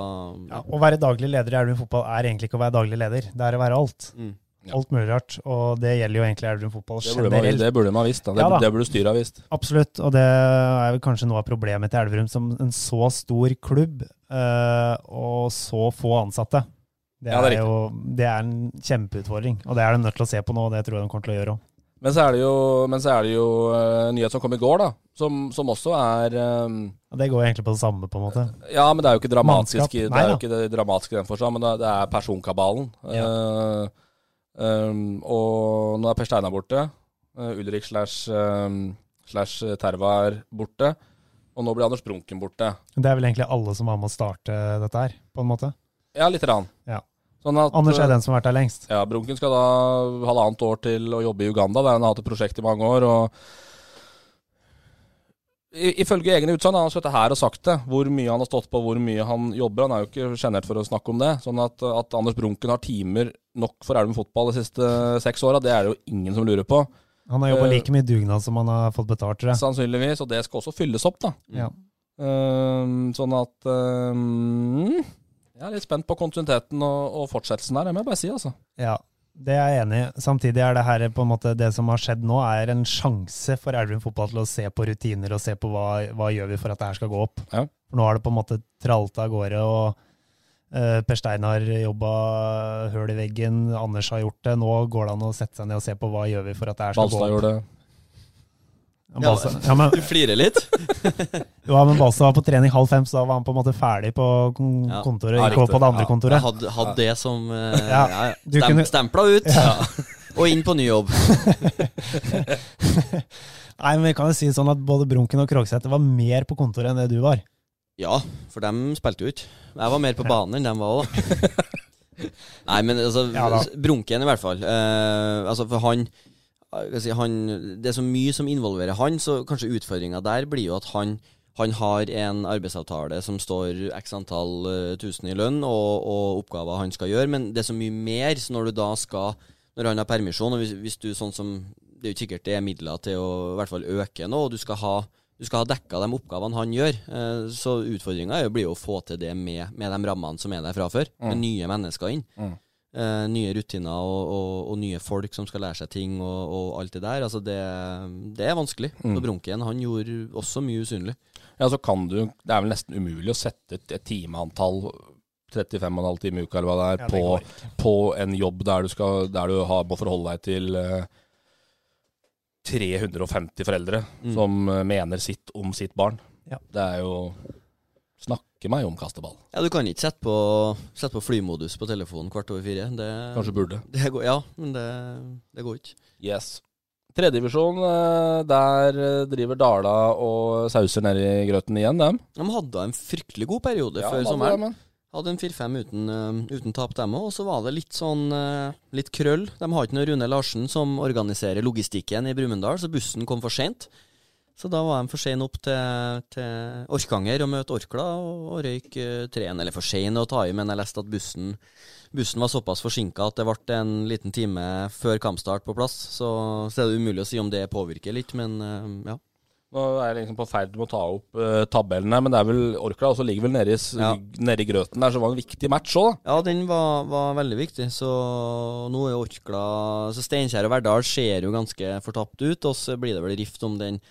Speaker 5: Ja, å være daglig leder i Elverum fotball er egentlig ikke å være daglig leder. Det er å være alt.
Speaker 4: Mm.
Speaker 3: Ja.
Speaker 5: Alt mulig rart. Og det gjelder jo egentlig Elverum fotball
Speaker 3: Det burde, man,
Speaker 5: generelt.
Speaker 3: det burde man visst. Da. Det,
Speaker 5: Ja da.
Speaker 3: det burde styret ha visst.
Speaker 5: Absolutt, og det er vel kanskje noe av problemet til Elverum som en så stor klubb eh, og så få ansatte. Det er,
Speaker 3: Ja, det er
Speaker 5: jo det er en kjempeutfordring, og det er de nødt til å se på nå, og det tror jeg de kommer til å gjøre òg.
Speaker 3: Men så er det jo, men så er det jo eh, en nyhet som kom i går, da. Som, som også er eh,
Speaker 5: Det går egentlig på det samme, på en måte.
Speaker 3: Ja, men det er jo ikke dramatisk,
Speaker 5: Mannskap.
Speaker 3: i- det
Speaker 5: Nei
Speaker 3: er
Speaker 5: da.
Speaker 3: jo ikke det dramatiske i den forstand, men det er- det er personkabalen. Eh, um, og nå er Per Steinar borte. eh, Ulrik slash um, slash Terva er borte. Og nå blir Anders Brunken borte.
Speaker 5: Det er vel egentlig alle som var med å starte dette her, på en måte.
Speaker 3: Ja, lite grann.
Speaker 5: Ja.
Speaker 3: Sånn at,
Speaker 5: Anders er den som har vært der lengst.
Speaker 3: Ja, Brunken skal da halvannet år til å jobbe i Uganda. Der han har hatt et prosjekt i mange år. og I- Ifølge egne utsagn har han sittet her og sagt det, hvor mye han har stått på, hvor mye han jobber. Han er jo ikke sjenert for å snakke om det. Sånn at, at Anders Brunken har timer nok for Elverum fotball de siste seks åra, det er det jo ingen som lurer på.
Speaker 5: Han har jobba
Speaker 3: Eh,
Speaker 5: like mye dugnad som han har fått betalt, tror jeg.
Speaker 3: Sannsynligvis. Og det skal også fylles opp, da.
Speaker 5: Ja.
Speaker 3: Ehm, sånn at ehm, Jeg er litt spent på kontinuiteten og, og fortsettelsen her, det må jeg bare si, altså.
Speaker 5: Ja, det er jeg enig i. Samtidig er det her på en måte det som har skjedd nå, er en sjanse for Elverum fotball til å se på rutiner og se på hva, hva gjør vi for at det her skal gå opp.
Speaker 3: Ja.
Speaker 5: For nå har det på en måte tralta av gårde, og eh, Per Stein har jobba høl i veggen, Anders har gjort det. Nå går det an å sette seg ned og se på hva gjør vi for at det her skal
Speaker 3: Balstad
Speaker 5: gå opp.
Speaker 3: gjorde det.
Speaker 5: Ja, Balstad. Ja, men,
Speaker 4: Du flirer litt.
Speaker 5: ja, men Balstad var på trening halv fem, så da var han på en måte ferdig på kon-
Speaker 4: Ja.
Speaker 5: kontoret,
Speaker 3: Ja,
Speaker 5: ikke
Speaker 3: riktig.
Speaker 5: på det andre
Speaker 3: Ja.
Speaker 4: Jeg
Speaker 5: kontoret.
Speaker 4: hadde, hadde det som eh,
Speaker 5: [LAUGHS] Ja,
Speaker 4: ja, ja.
Speaker 5: du
Speaker 4: Stem,
Speaker 5: kunne-
Speaker 4: Stempla ut, [LAUGHS] og inn på ny jobb.
Speaker 5: Nei, men vi kan jo si sånn at både Brunken og Krogsæter var mer på kontoret enn det du var.
Speaker 4: Ja, for dem spilte jo ikke. Jeg var mer på banen enn dem
Speaker 5: [LAUGHS]
Speaker 4: var òg. Nei, men altså,
Speaker 5: Ja da.
Speaker 4: Brunken i hvert fall. Eh, altså, for han, eh, hva skal jeg si, han Det er så mye som involverer han, så kanskje utfordringa der blir jo at han han har en arbeidsavtale som står x antall eh, tusen i lønn, og, og oppgaver han skal gjøre, men det er så mye mer. Så når du da skal Når han har permisjon, og hvis, hvis du sånn som Det er jo ikke sikkert det er midler til å i hvert fall øke nå, og du skal ha du skal ha dekka de oppgavene han gjør. eh, Så utfordringa er jo- blir jo å få til det med, med de rammene som er der fra før. Med nye mennesker inn. Eh, nye rutiner og, og, og nye folk som skal lære seg ting og, og alt det der. Altså det, det er vanskelig. Og Brunken han gjorde også mye usynlig.
Speaker 3: Ja, så kan du Det er vel nesten umulig å sette et, et timeantall 35,5 timer i uka eller hva det
Speaker 5: Ja,
Speaker 3: er,
Speaker 5: det går
Speaker 3: på, på en jobb der du, skal, der du har, må forholde deg til eh, 350 foreldre
Speaker 4: Mm.
Speaker 3: som eh, mener sitt om sitt barn.
Speaker 5: Ja.
Speaker 3: Det er jo Snakke meg om kasteball.
Speaker 4: Ja, Du kan ikke sette på, sette på flymodus på telefonen kvart over fire. Det,
Speaker 3: Kanskje burde.
Speaker 4: det går, ja, men det, det går ikke.
Speaker 3: Yes. Tredjedivisjon, eh, der eh, driver Dala og sauser nedi grøten igjen, dem.
Speaker 4: De hadde en fryktelig god periode
Speaker 3: Ja,
Speaker 4: før
Speaker 3: da,
Speaker 4: sommeren.
Speaker 3: men-
Speaker 4: Hadde en 4-5 uten, eh, uten tap, dem òg. Og så var det litt sånn eh, litt krøll. De har ikke noe Rune Larsen som organiserer logistikken i Brumunddal, så bussen kom for seint. Så da var de for seine opp til, til Orkanger og møte Orkla, og, og røyk eh, treen. Eller for seine å ta i, men jeg leste at bussen, bussen var såpass forsinka at det ble en liten time før kampstart på plass. Så, så er det umulig å si om det påvirker litt, men eh, ja.
Speaker 3: Nå er jeg liksom på ferd med å ta opp eh, tabellen her, men det er vel Orkla også ligger vel nede i, s-
Speaker 4: Ja.
Speaker 3: nede i grøten der, så det var en viktig match òg, da.
Speaker 4: Ja, den var, var veldig viktig. Så nå er Orkla Så Steinkjer og Verdal ser jo ganske fortapt ut, og så blir det vel rift om den,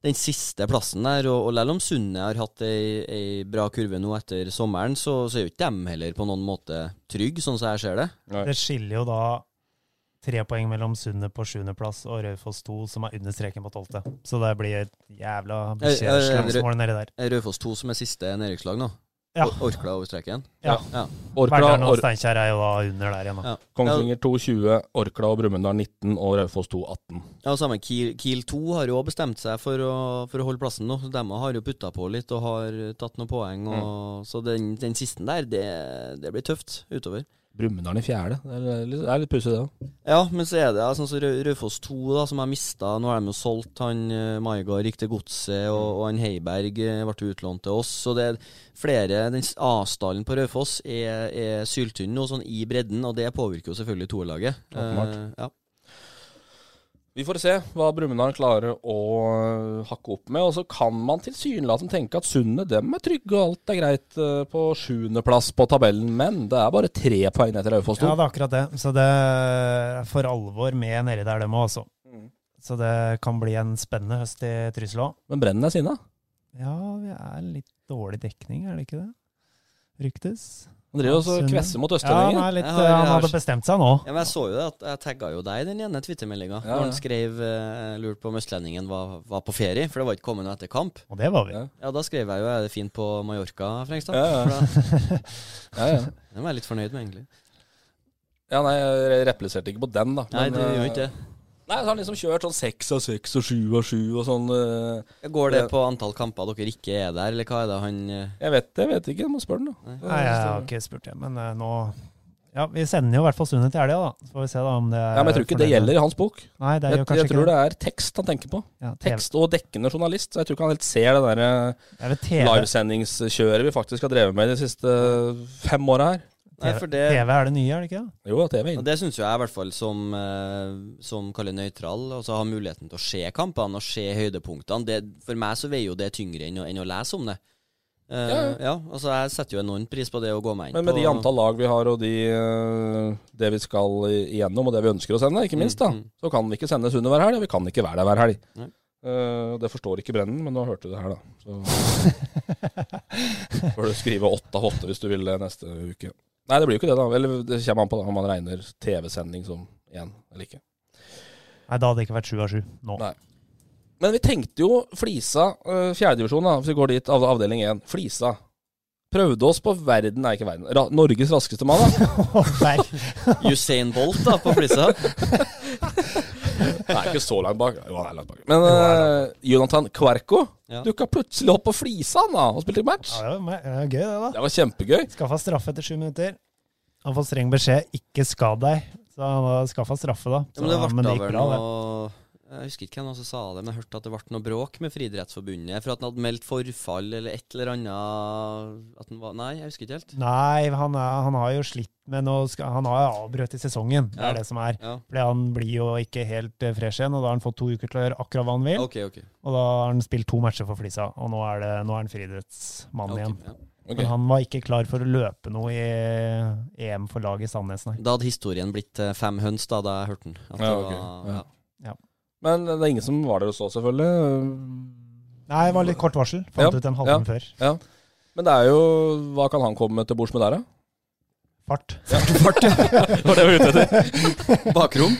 Speaker 4: den siste plassen der. Og, og selv om Sunne har hatt ei, ei bra kurve nå etter sommeren, så, så er jo ikke dem heller på noen måte trygge, sånn som jeg ser det.
Speaker 5: Det skiller jo da tre poeng mellom Sundet på sjuendeplass og Raufoss 2, som er under streken på tolvte. Så det blir et jævla slagsmål nedi der.
Speaker 4: Er Raufoss 2 som er siste nedrykkslag nå.
Speaker 5: Ja.
Speaker 4: Or- Orkla over streken.
Speaker 5: Ja.
Speaker 4: ja.
Speaker 3: Orkla,
Speaker 5: Verdalen og
Speaker 3: Or
Speaker 5: Steinkjer er jo da under der igjen. da.
Speaker 4: ja.
Speaker 3: Kongsvinger 2-20, Orkla og Brumunddal 19 og Raufoss 2-18.
Speaker 4: Ja, og samme Kiel, Kiel 2 har jo også bestemt seg for å, for å holde plassen nå. så De har jo putta på litt og har tatt noen poeng. Og, Så den, den siste der, det, det blir tøft utover.
Speaker 3: Brumunddal i fjerde, det er litt, det er litt pussig det òg.
Speaker 4: Ja, men så er det ja, sånn som Rau- Raufoss 2, da, som har mista Nå har de jo solgt han eh, Maigard, gikk til Godset, og, og han Heiberg eh, ble utlånt til oss. Så det er flere Den s- avstanden på Raufoss er, er syltynn nå, sånn i bredden, og det påvirker jo selvfølgelig toerlaget.
Speaker 3: Åpenbart.
Speaker 4: Eh, ja.
Speaker 3: Vi får se hva Brumunddal klarer å øh, hakke opp med. Og så kan man tilsynelatende tenke at Sundet dem er trygge og alt er greit øh, på sjuendeplass på tabellen, men det er bare tre poeng etter Aufoss 2.
Speaker 5: Ja, det er akkurat det. Så det er for alvor med nedi der, dem òg, altså. Så det kan bli en spennende høst i Trysil òg.
Speaker 3: Men Brennen er sinna.
Speaker 5: Ja, vi er litt dårlig dekning, er det ikke det? Ryktes.
Speaker 3: Han driver også og
Speaker 5: Sundet.
Speaker 3: kvesser mot
Speaker 5: Ja, han,
Speaker 3: Østlendingen.
Speaker 5: er litt,
Speaker 4: Jeg har- jeg
Speaker 5: han
Speaker 4: har-
Speaker 5: hadde bestemt seg nå.
Speaker 4: Ja, men jeg så jo det, at jeg tagga jo deg i den ene twittermeldinga
Speaker 3: Ja,
Speaker 4: når
Speaker 3: ja.
Speaker 4: han skrev eh, lurt på om Østlendingen var, var på ferie, for det var ikke kommet noe etter kamp.
Speaker 5: Og det var vi.
Speaker 3: Ja.
Speaker 4: Ja, da skrev jeg jo er det fint på Mallorca, Frengstad.
Speaker 3: Ja, ja.
Speaker 4: For da-
Speaker 5: [LAUGHS]
Speaker 3: Ja, ja.
Speaker 4: Den var jeg litt fornøyd med, egentlig.
Speaker 3: ja, nei, jeg repliserte ikke på den, da.
Speaker 4: Nei,
Speaker 3: men,
Speaker 4: det gjør
Speaker 3: øh,
Speaker 4: jo ikke det.
Speaker 3: Nei, så har han liksom kjørt sånn seks av seks og sju av sju og sånn. øh,
Speaker 4: Går det på antall kamper dere ikke er der, eller hva er det han eh,
Speaker 3: Jeg vet det, jeg vet ikke. Jeg må spørre den, da.
Speaker 5: Nei, jeg har ikke spurt det, men eh, nå Ja, vi sender jo i hvert fall Sundet til helga, da. Så får vi se da om det er
Speaker 3: Ja, men jeg tror ikke det
Speaker 5: fornøyd.
Speaker 3: gjelder i hans bok.
Speaker 5: Nei, det er
Speaker 3: Jeg,
Speaker 5: jo kanskje
Speaker 3: jeg tror
Speaker 5: ikke
Speaker 3: det er tekst han tenker på.
Speaker 5: Ja, TV
Speaker 3: Tekst og dekkende journalist. Så jeg tror ikke han helt ser det derre
Speaker 5: Det er vel TV.
Speaker 3: livesendingskjøret vi faktisk har drevet med de siste fem åra her.
Speaker 4: Nei, for det
Speaker 5: TV er det nye, er det ikke? det?
Speaker 3: Jo, TV
Speaker 4: Og
Speaker 3: inn.
Speaker 4: Det syns jo jeg, i hvert fall som, eh, som kaller nøytral, altså ha muligheten til å se kampene og se høydepunktene. Det, for meg så veier jo det tyngre enn å, enn å lese om det. Eh, ja,
Speaker 3: Ja,
Speaker 4: altså Jeg setter jo enorm pris på det å gå meg inn
Speaker 3: Men med
Speaker 4: på
Speaker 3: de antall lag vi har, og de, eh, det vi skal igjennom, og det vi ønsker å sende, ikke minst, da,
Speaker 4: Mm, mm.
Speaker 3: så kan vi ikke sendes under hver helg. og Vi kan ikke være der hver helg.
Speaker 4: Nei.
Speaker 3: Eh, det forstår ikke Brennen, men nå hørte du det her, da.
Speaker 4: [LAUGHS]
Speaker 3: Så får du skrive åtte av åtte hvis du vil det neste uke. Nei, det blir jo ikke det, da. Eller det kommer an på da, om man regner TV-sending som én eller ikke.
Speaker 5: Nei, da hadde det ikke vært sju av sju nå.
Speaker 3: Nei. Men vi tenkte jo Flisa, eh, fjerdedivisjon, da, hvis vi går dit, av, avdeling én. Flisa. Prøvde oss på verden, nei, ikke verden, ra Norges raskeste mann, da.
Speaker 5: [LAUGHS] Nei.
Speaker 4: Usain Bolt da, på flisa.
Speaker 3: Nei, ikke så langt bak. Jo, han er langt bak. Men eh, Jonathan Kverko
Speaker 4: Ja.
Speaker 3: dukka plutselig opp på Flisa han da, og spilte match.
Speaker 5: Ja, det var me- det var gøy, det, da.
Speaker 3: Det var kjempegøy.
Speaker 5: Skaffa straffe etter sju minutter. Han får streng beskjed 'ikke skad deg', så han har skaffa straffe, da.
Speaker 4: Ja, men det
Speaker 5: Så-
Speaker 4: ble da
Speaker 5: gikk
Speaker 4: vel
Speaker 5: bra, det.
Speaker 4: noe Jeg husker ikke hvem som sa det, men jeg hørte at det ble noe bråk med Friidrettsforbundet for at han hadde meldt forfall eller et eller annet at han var, Nei, jeg husker ikke helt.
Speaker 5: Nei, han, er, han har jo slitt med noe ska- Han har jo avbrøt i sesongen, det
Speaker 4: Ja.
Speaker 5: er det som er.
Speaker 4: Ja,
Speaker 5: Fordi han blir jo ikke helt eh, fresh igjen, og da har han fått to uker til å gjøre akkurat hva han vil.
Speaker 4: OK, OK.
Speaker 5: Og da har han spilt to matcher for Flisa, og nå er, det, nå er han friidrettsmann
Speaker 4: ok,
Speaker 5: igjen.
Speaker 4: ja.
Speaker 3: Ok.
Speaker 5: Men han var ikke klar for å løpe noe i EM for laget i Sandnes, nei.
Speaker 4: Da hadde historien blitt eh, fem høns da, da jeg hørte den. At
Speaker 3: Ja,
Speaker 4: det
Speaker 3: ok,
Speaker 4: var-
Speaker 3: ja.
Speaker 4: ja.
Speaker 3: Men eh, det er ingen som var der og så, selvfølgelig.
Speaker 5: Nei, det var litt kort varsel. Fant
Speaker 3: Ja,
Speaker 5: ut en
Speaker 3: ja.
Speaker 5: halvtime før.
Speaker 3: Men det er jo Hva kan han komme til bords med der, da?
Speaker 5: Fart.
Speaker 3: Det [LAUGHS] var det vi var ute etter.
Speaker 4: Bakrom.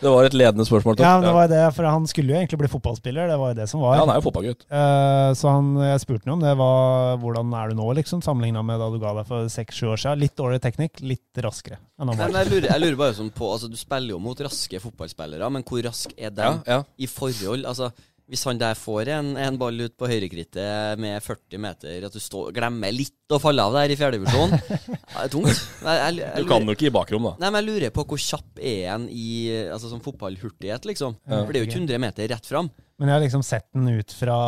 Speaker 3: Det var et ledende spørsmål. Tom.
Speaker 5: Ja, men det var jo det, for han skulle jo egentlig bli fotballspiller, det var jo det som
Speaker 3: ja,
Speaker 5: var.
Speaker 3: han er jo fotballgutt.
Speaker 5: Eh, så han, jeg spurte ham om det, var, hvordan er du nå, liksom, sammenligna med da du ga deg for seks-sju år siden. Litt dårligere teknikk, litt raskere enn han
Speaker 4: Nei,
Speaker 5: var.
Speaker 4: men jeg, lurer, jeg lurer bare sånn på altså, Du spiller jo mot raske fotballspillere, men hvor rask er de
Speaker 3: Ja, ja.
Speaker 4: i forhold? Altså, hvis han der får en, en ball ut på høyrekrittet med 40 meter, at du står, glemmer litt å falle av der i fjerdedivisjon ja, Det er tungt. Jeg, jeg, jeg,
Speaker 3: Du
Speaker 4: lurer-
Speaker 3: kan jo ikke i bakrom, da.
Speaker 4: Nei, men jeg lurer på hvor kjapp er han i altså, sånn fotballhurtighet, liksom. For det er jo ikke 100 meter rett fram.
Speaker 5: Men jeg har liksom sett den ut fra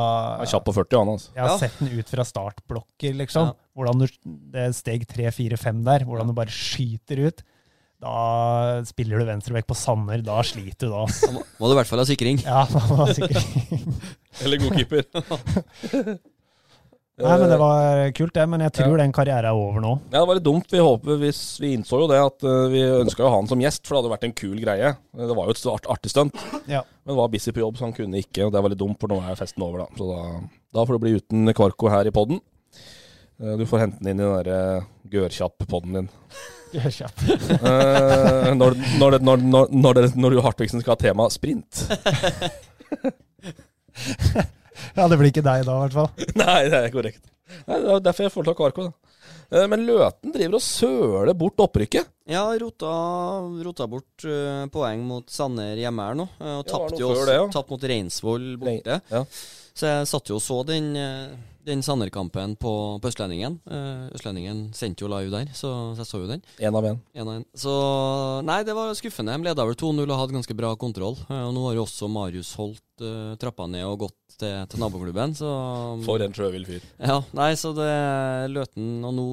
Speaker 3: Han er kjapp på 40, han altså.
Speaker 5: Jeg har
Speaker 4: Ja.
Speaker 5: sett den ut fra startblokker, liksom.
Speaker 4: Ja.
Speaker 5: Hvordan du, det er steg tre, fire, fem der, hvordan du bare skyter ut. Da spiller du venstrebekk på Sanner, da sliter du
Speaker 3: [LAUGHS]
Speaker 5: da. ass.
Speaker 4: Må, må du i hvert fall ha sikring.
Speaker 5: Ja, da var sikkert.
Speaker 3: Eller god keeper.
Speaker 5: Nei, men det var kult, det. Men jeg tror den karrieren er over nå.
Speaker 3: [LAUGHS] Ja, det var litt dumt. Vi håper, hvis, vi innså jo det at eh, vi ønska å ha han som gjest, for det hadde vært en kul greie. Eh, Det var jo et art, artig stunt,
Speaker 5: [LAUGHS] Ja.
Speaker 3: men var busy på jobb, så han kunne ikke. Og det var litt dumt, for nå er festen over, da. Så da, da får du bli uten Kvarko her i poden. Du får hente den inn i den derre gørkjapp-poden din.
Speaker 5: Kjapt.
Speaker 3: Eh, når, når, det- når, når, når, det- når du Hartvigsen skal ha tema sprint. [LAUGHS]
Speaker 5: Ja, det blir ikke deg da, i hvert fall.
Speaker 3: Nei, det er korrekt. Nei, det er derfor jeg foretar Kvarko, da. Eh, Men Løten driver og søler bort opprykket.
Speaker 4: Ja, rota, rota bort eh, poeng mot Sanner hjemme her nå.
Speaker 3: Ja, det
Speaker 4: eh, og
Speaker 3: var
Speaker 4: tapte
Speaker 3: noe
Speaker 4: jo
Speaker 3: før
Speaker 4: også,
Speaker 3: det, ja.
Speaker 4: tapt mot Reinsvoll borte.
Speaker 3: Rein- ja.
Speaker 4: Så jeg satt jo og så den, eh, den Sanner-kampen på, på Østlendingen. Eh, Østlendingen sendte jo live der, så, så jeg så jo den.
Speaker 3: Én av én.
Speaker 4: En av en. Så Nei, det var skuffende. De leda vel 2-0 og hadde ganske bra kontroll. Eh, og nå har jo også Marius holdt eh, trappa ned og gått til, til naboklubben, så
Speaker 3: For en sjøvill fyr.
Speaker 4: ja, nei, så det Løten og nå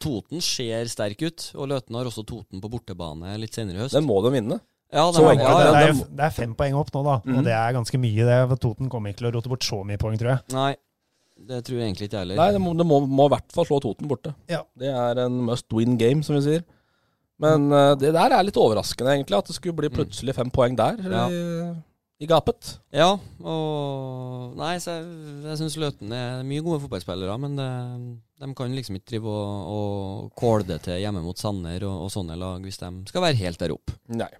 Speaker 4: Toten ser sterk ut, og Løten har også Toten på bortebane litt senere i høst.
Speaker 3: Den må de vinne.
Speaker 4: Ja,
Speaker 3: Så
Speaker 4: var-
Speaker 3: enkelt
Speaker 4: ja,
Speaker 3: er
Speaker 4: ja,
Speaker 5: det,
Speaker 3: det. Mhm.
Speaker 5: er, det er fem poeng opp nå, da. Og det er ganske mye. det for Toten kommer ikke til å rote bort så mye poeng, tror jeg.
Speaker 4: Nei, det tror jeg egentlig ikke jeg heller.
Speaker 3: Nei, det må, det må, må i hvert fall slå Toten borte.
Speaker 5: Ja.
Speaker 3: Det er en must win game, som vi sier. Men eh, det der er litt overraskende, egentlig. At det skulle bli plutselig fem poeng der,
Speaker 4: Ja.
Speaker 3: eh, i gapet.
Speaker 4: Ja, og Nei, så jeg, jeg syns Løten er mye gode fotballspillere, men det, de kan liksom ikke drive og, og kåle det til hjemme mot Sanner og, og sånne lag hvis de skal være helt der oppe.
Speaker 3: Nei.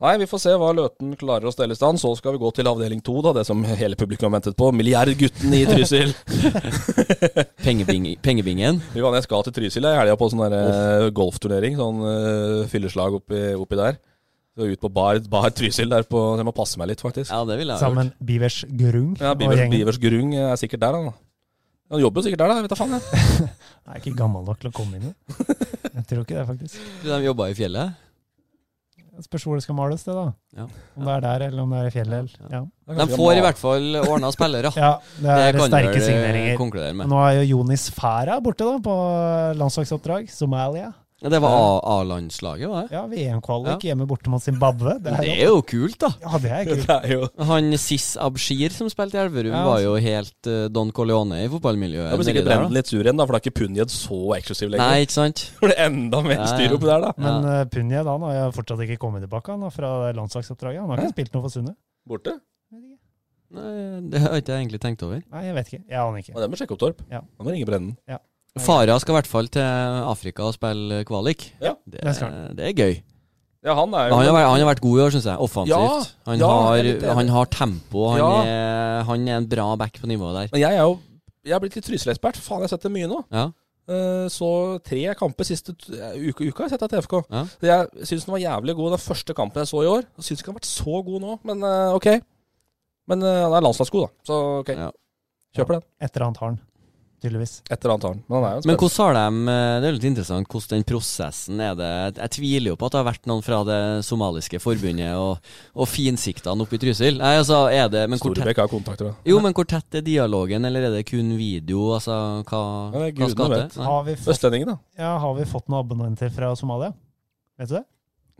Speaker 3: Nei, vi får se hva Løten klarer å stelle i stand. Så skal vi gå til avdeling to, da. Det som hele publikum har ventet på. Milliardgutten i Trysil.
Speaker 4: [LAUGHS] Pengebing, pengebingen.
Speaker 3: Vi var jeg skal til Trysil jeg, i helga på sånn der, eh, golfturnering. Sånn eh, fylleslag oppi, oppi der. Så ut på bar, bar Trysil der på Jeg må passe meg litt, faktisk.
Speaker 4: Ja, det ville jeg ha gjort.
Speaker 5: Sammen Bivers Grung
Speaker 3: Ja,
Speaker 5: og
Speaker 3: Bivers,
Speaker 5: gjengen.
Speaker 3: Bivers Grung er sikkert der, han da. Han jobber jo sikkert der, da. Jeg vet da faen, jeg.
Speaker 5: Jeg er ikke gammel nok til å komme inn i.
Speaker 3: [LAUGHS]
Speaker 5: Jeg tror ikke det, faktisk.
Speaker 4: De jobba i fjellet.
Speaker 5: Det Spørs hvor det skal males, det, da.
Speaker 4: Ja.
Speaker 5: Om det er der, eller om det er i fjellet. Eller. Ja.
Speaker 4: De får
Speaker 3: [LAUGHS]
Speaker 4: i hvert fall ordna spillere.
Speaker 5: [LAUGHS] ja, det er
Speaker 4: kan vel,
Speaker 5: sterke
Speaker 4: eh,
Speaker 5: signeringer.
Speaker 4: konkludere med.
Speaker 5: Nå er jo Jonis Færa borte, da, på landslagsoppdrag. Somalia.
Speaker 4: Ja, Det var A- A-landslaget, var det?
Speaker 5: Ja, VM-kvalik hjemme borte mot Zimbabwe. Det er,
Speaker 4: Det
Speaker 5: jo,
Speaker 4: er jo kult, da.
Speaker 5: ja, det er kult.
Speaker 3: Det er jo
Speaker 4: Han Siss Abshir som spilte i Elverum,
Speaker 5: Ja, altså.
Speaker 4: var jo helt eh, Don Coleone i fotballmiljøet.
Speaker 3: Da blir
Speaker 4: nedi
Speaker 3: sikkert
Speaker 4: der, da.
Speaker 3: Brenden litt sur igjen, da, for da er ikke Punjed så eksklusiv lenger. [LAUGHS]
Speaker 4: Nei, ikke sant?
Speaker 3: Det blir enda mer
Speaker 4: Ja, ja.
Speaker 3: styr oppi der,
Speaker 4: [LAUGHS]
Speaker 3: da.
Speaker 5: Men
Speaker 4: ja.
Speaker 5: eh, Punya da, han har jo fortsatt ikke kommet tilbake han, da, fra landslagsoppdraget. Han har ikke spilt noe for Sunne.
Speaker 3: Borte.
Speaker 4: Nei, det har ikke jeg egentlig tenkt over.
Speaker 5: Nei, jeg vet ikke. Jeg aner ikke.
Speaker 3: Og det må sjekke opp Torp.
Speaker 5: Ja.
Speaker 3: Han må ringe Brenden.
Speaker 4: Farah skal i hvert fall til Afrika og spille kvalik.
Speaker 3: Ja,
Speaker 4: det,
Speaker 5: det skal han.
Speaker 4: det er gøy.
Speaker 3: Ja, han er
Speaker 4: Men
Speaker 3: jo
Speaker 4: Han har, vært, han har vært god i år, syns jeg. Offensivt.
Speaker 3: Ja,
Speaker 4: han,
Speaker 3: ja, jeg er litt
Speaker 4: har,
Speaker 3: enig.
Speaker 4: han har tempo. Han,
Speaker 3: Ja.
Speaker 4: er, han er en bra back på nivået der.
Speaker 3: Men jeg er jo Jeg er blitt litt Trysil-ekspert. Faen, jeg har sett det mye nå.
Speaker 4: Ja.
Speaker 3: Eh, Så tre kamper siste t- uke, uka har jeg sett deg til FK.
Speaker 4: Ja.
Speaker 3: Så Jeg syns den var jævlig god den første kampen jeg så i år. Jeg syns ikke han har vært så god nå, men eh, OK. Men eh, han er landslagsgod, da. Så OK,
Speaker 4: Ja.
Speaker 3: kjøper den.
Speaker 5: Et eller annet har han, tydeligvis.
Speaker 3: Et eller annet har han. Men han er jo en
Speaker 4: Men
Speaker 3: spennende.
Speaker 4: hvordan har de eh, Det er litt interessant hvordan den prosessen er det Jeg tviler jo på at det har vært noen fra det somaliske forbundet og, og finsikta han oppe i Trysil. Nei, altså, er det Men hvor tett,
Speaker 3: Storebekk har kontakter, da.
Speaker 4: jo, men hvor tett er dialogen, eller er det kun video? Altså, hva,
Speaker 3: Ja, det er
Speaker 4: hva
Speaker 3: gudene
Speaker 4: skal
Speaker 3: vet.
Speaker 4: til? Nei.
Speaker 5: Har vi fått,
Speaker 3: Østlendingen, da?
Speaker 5: ja, har vi fått noen abonnenter fra Somalia? Vet du det?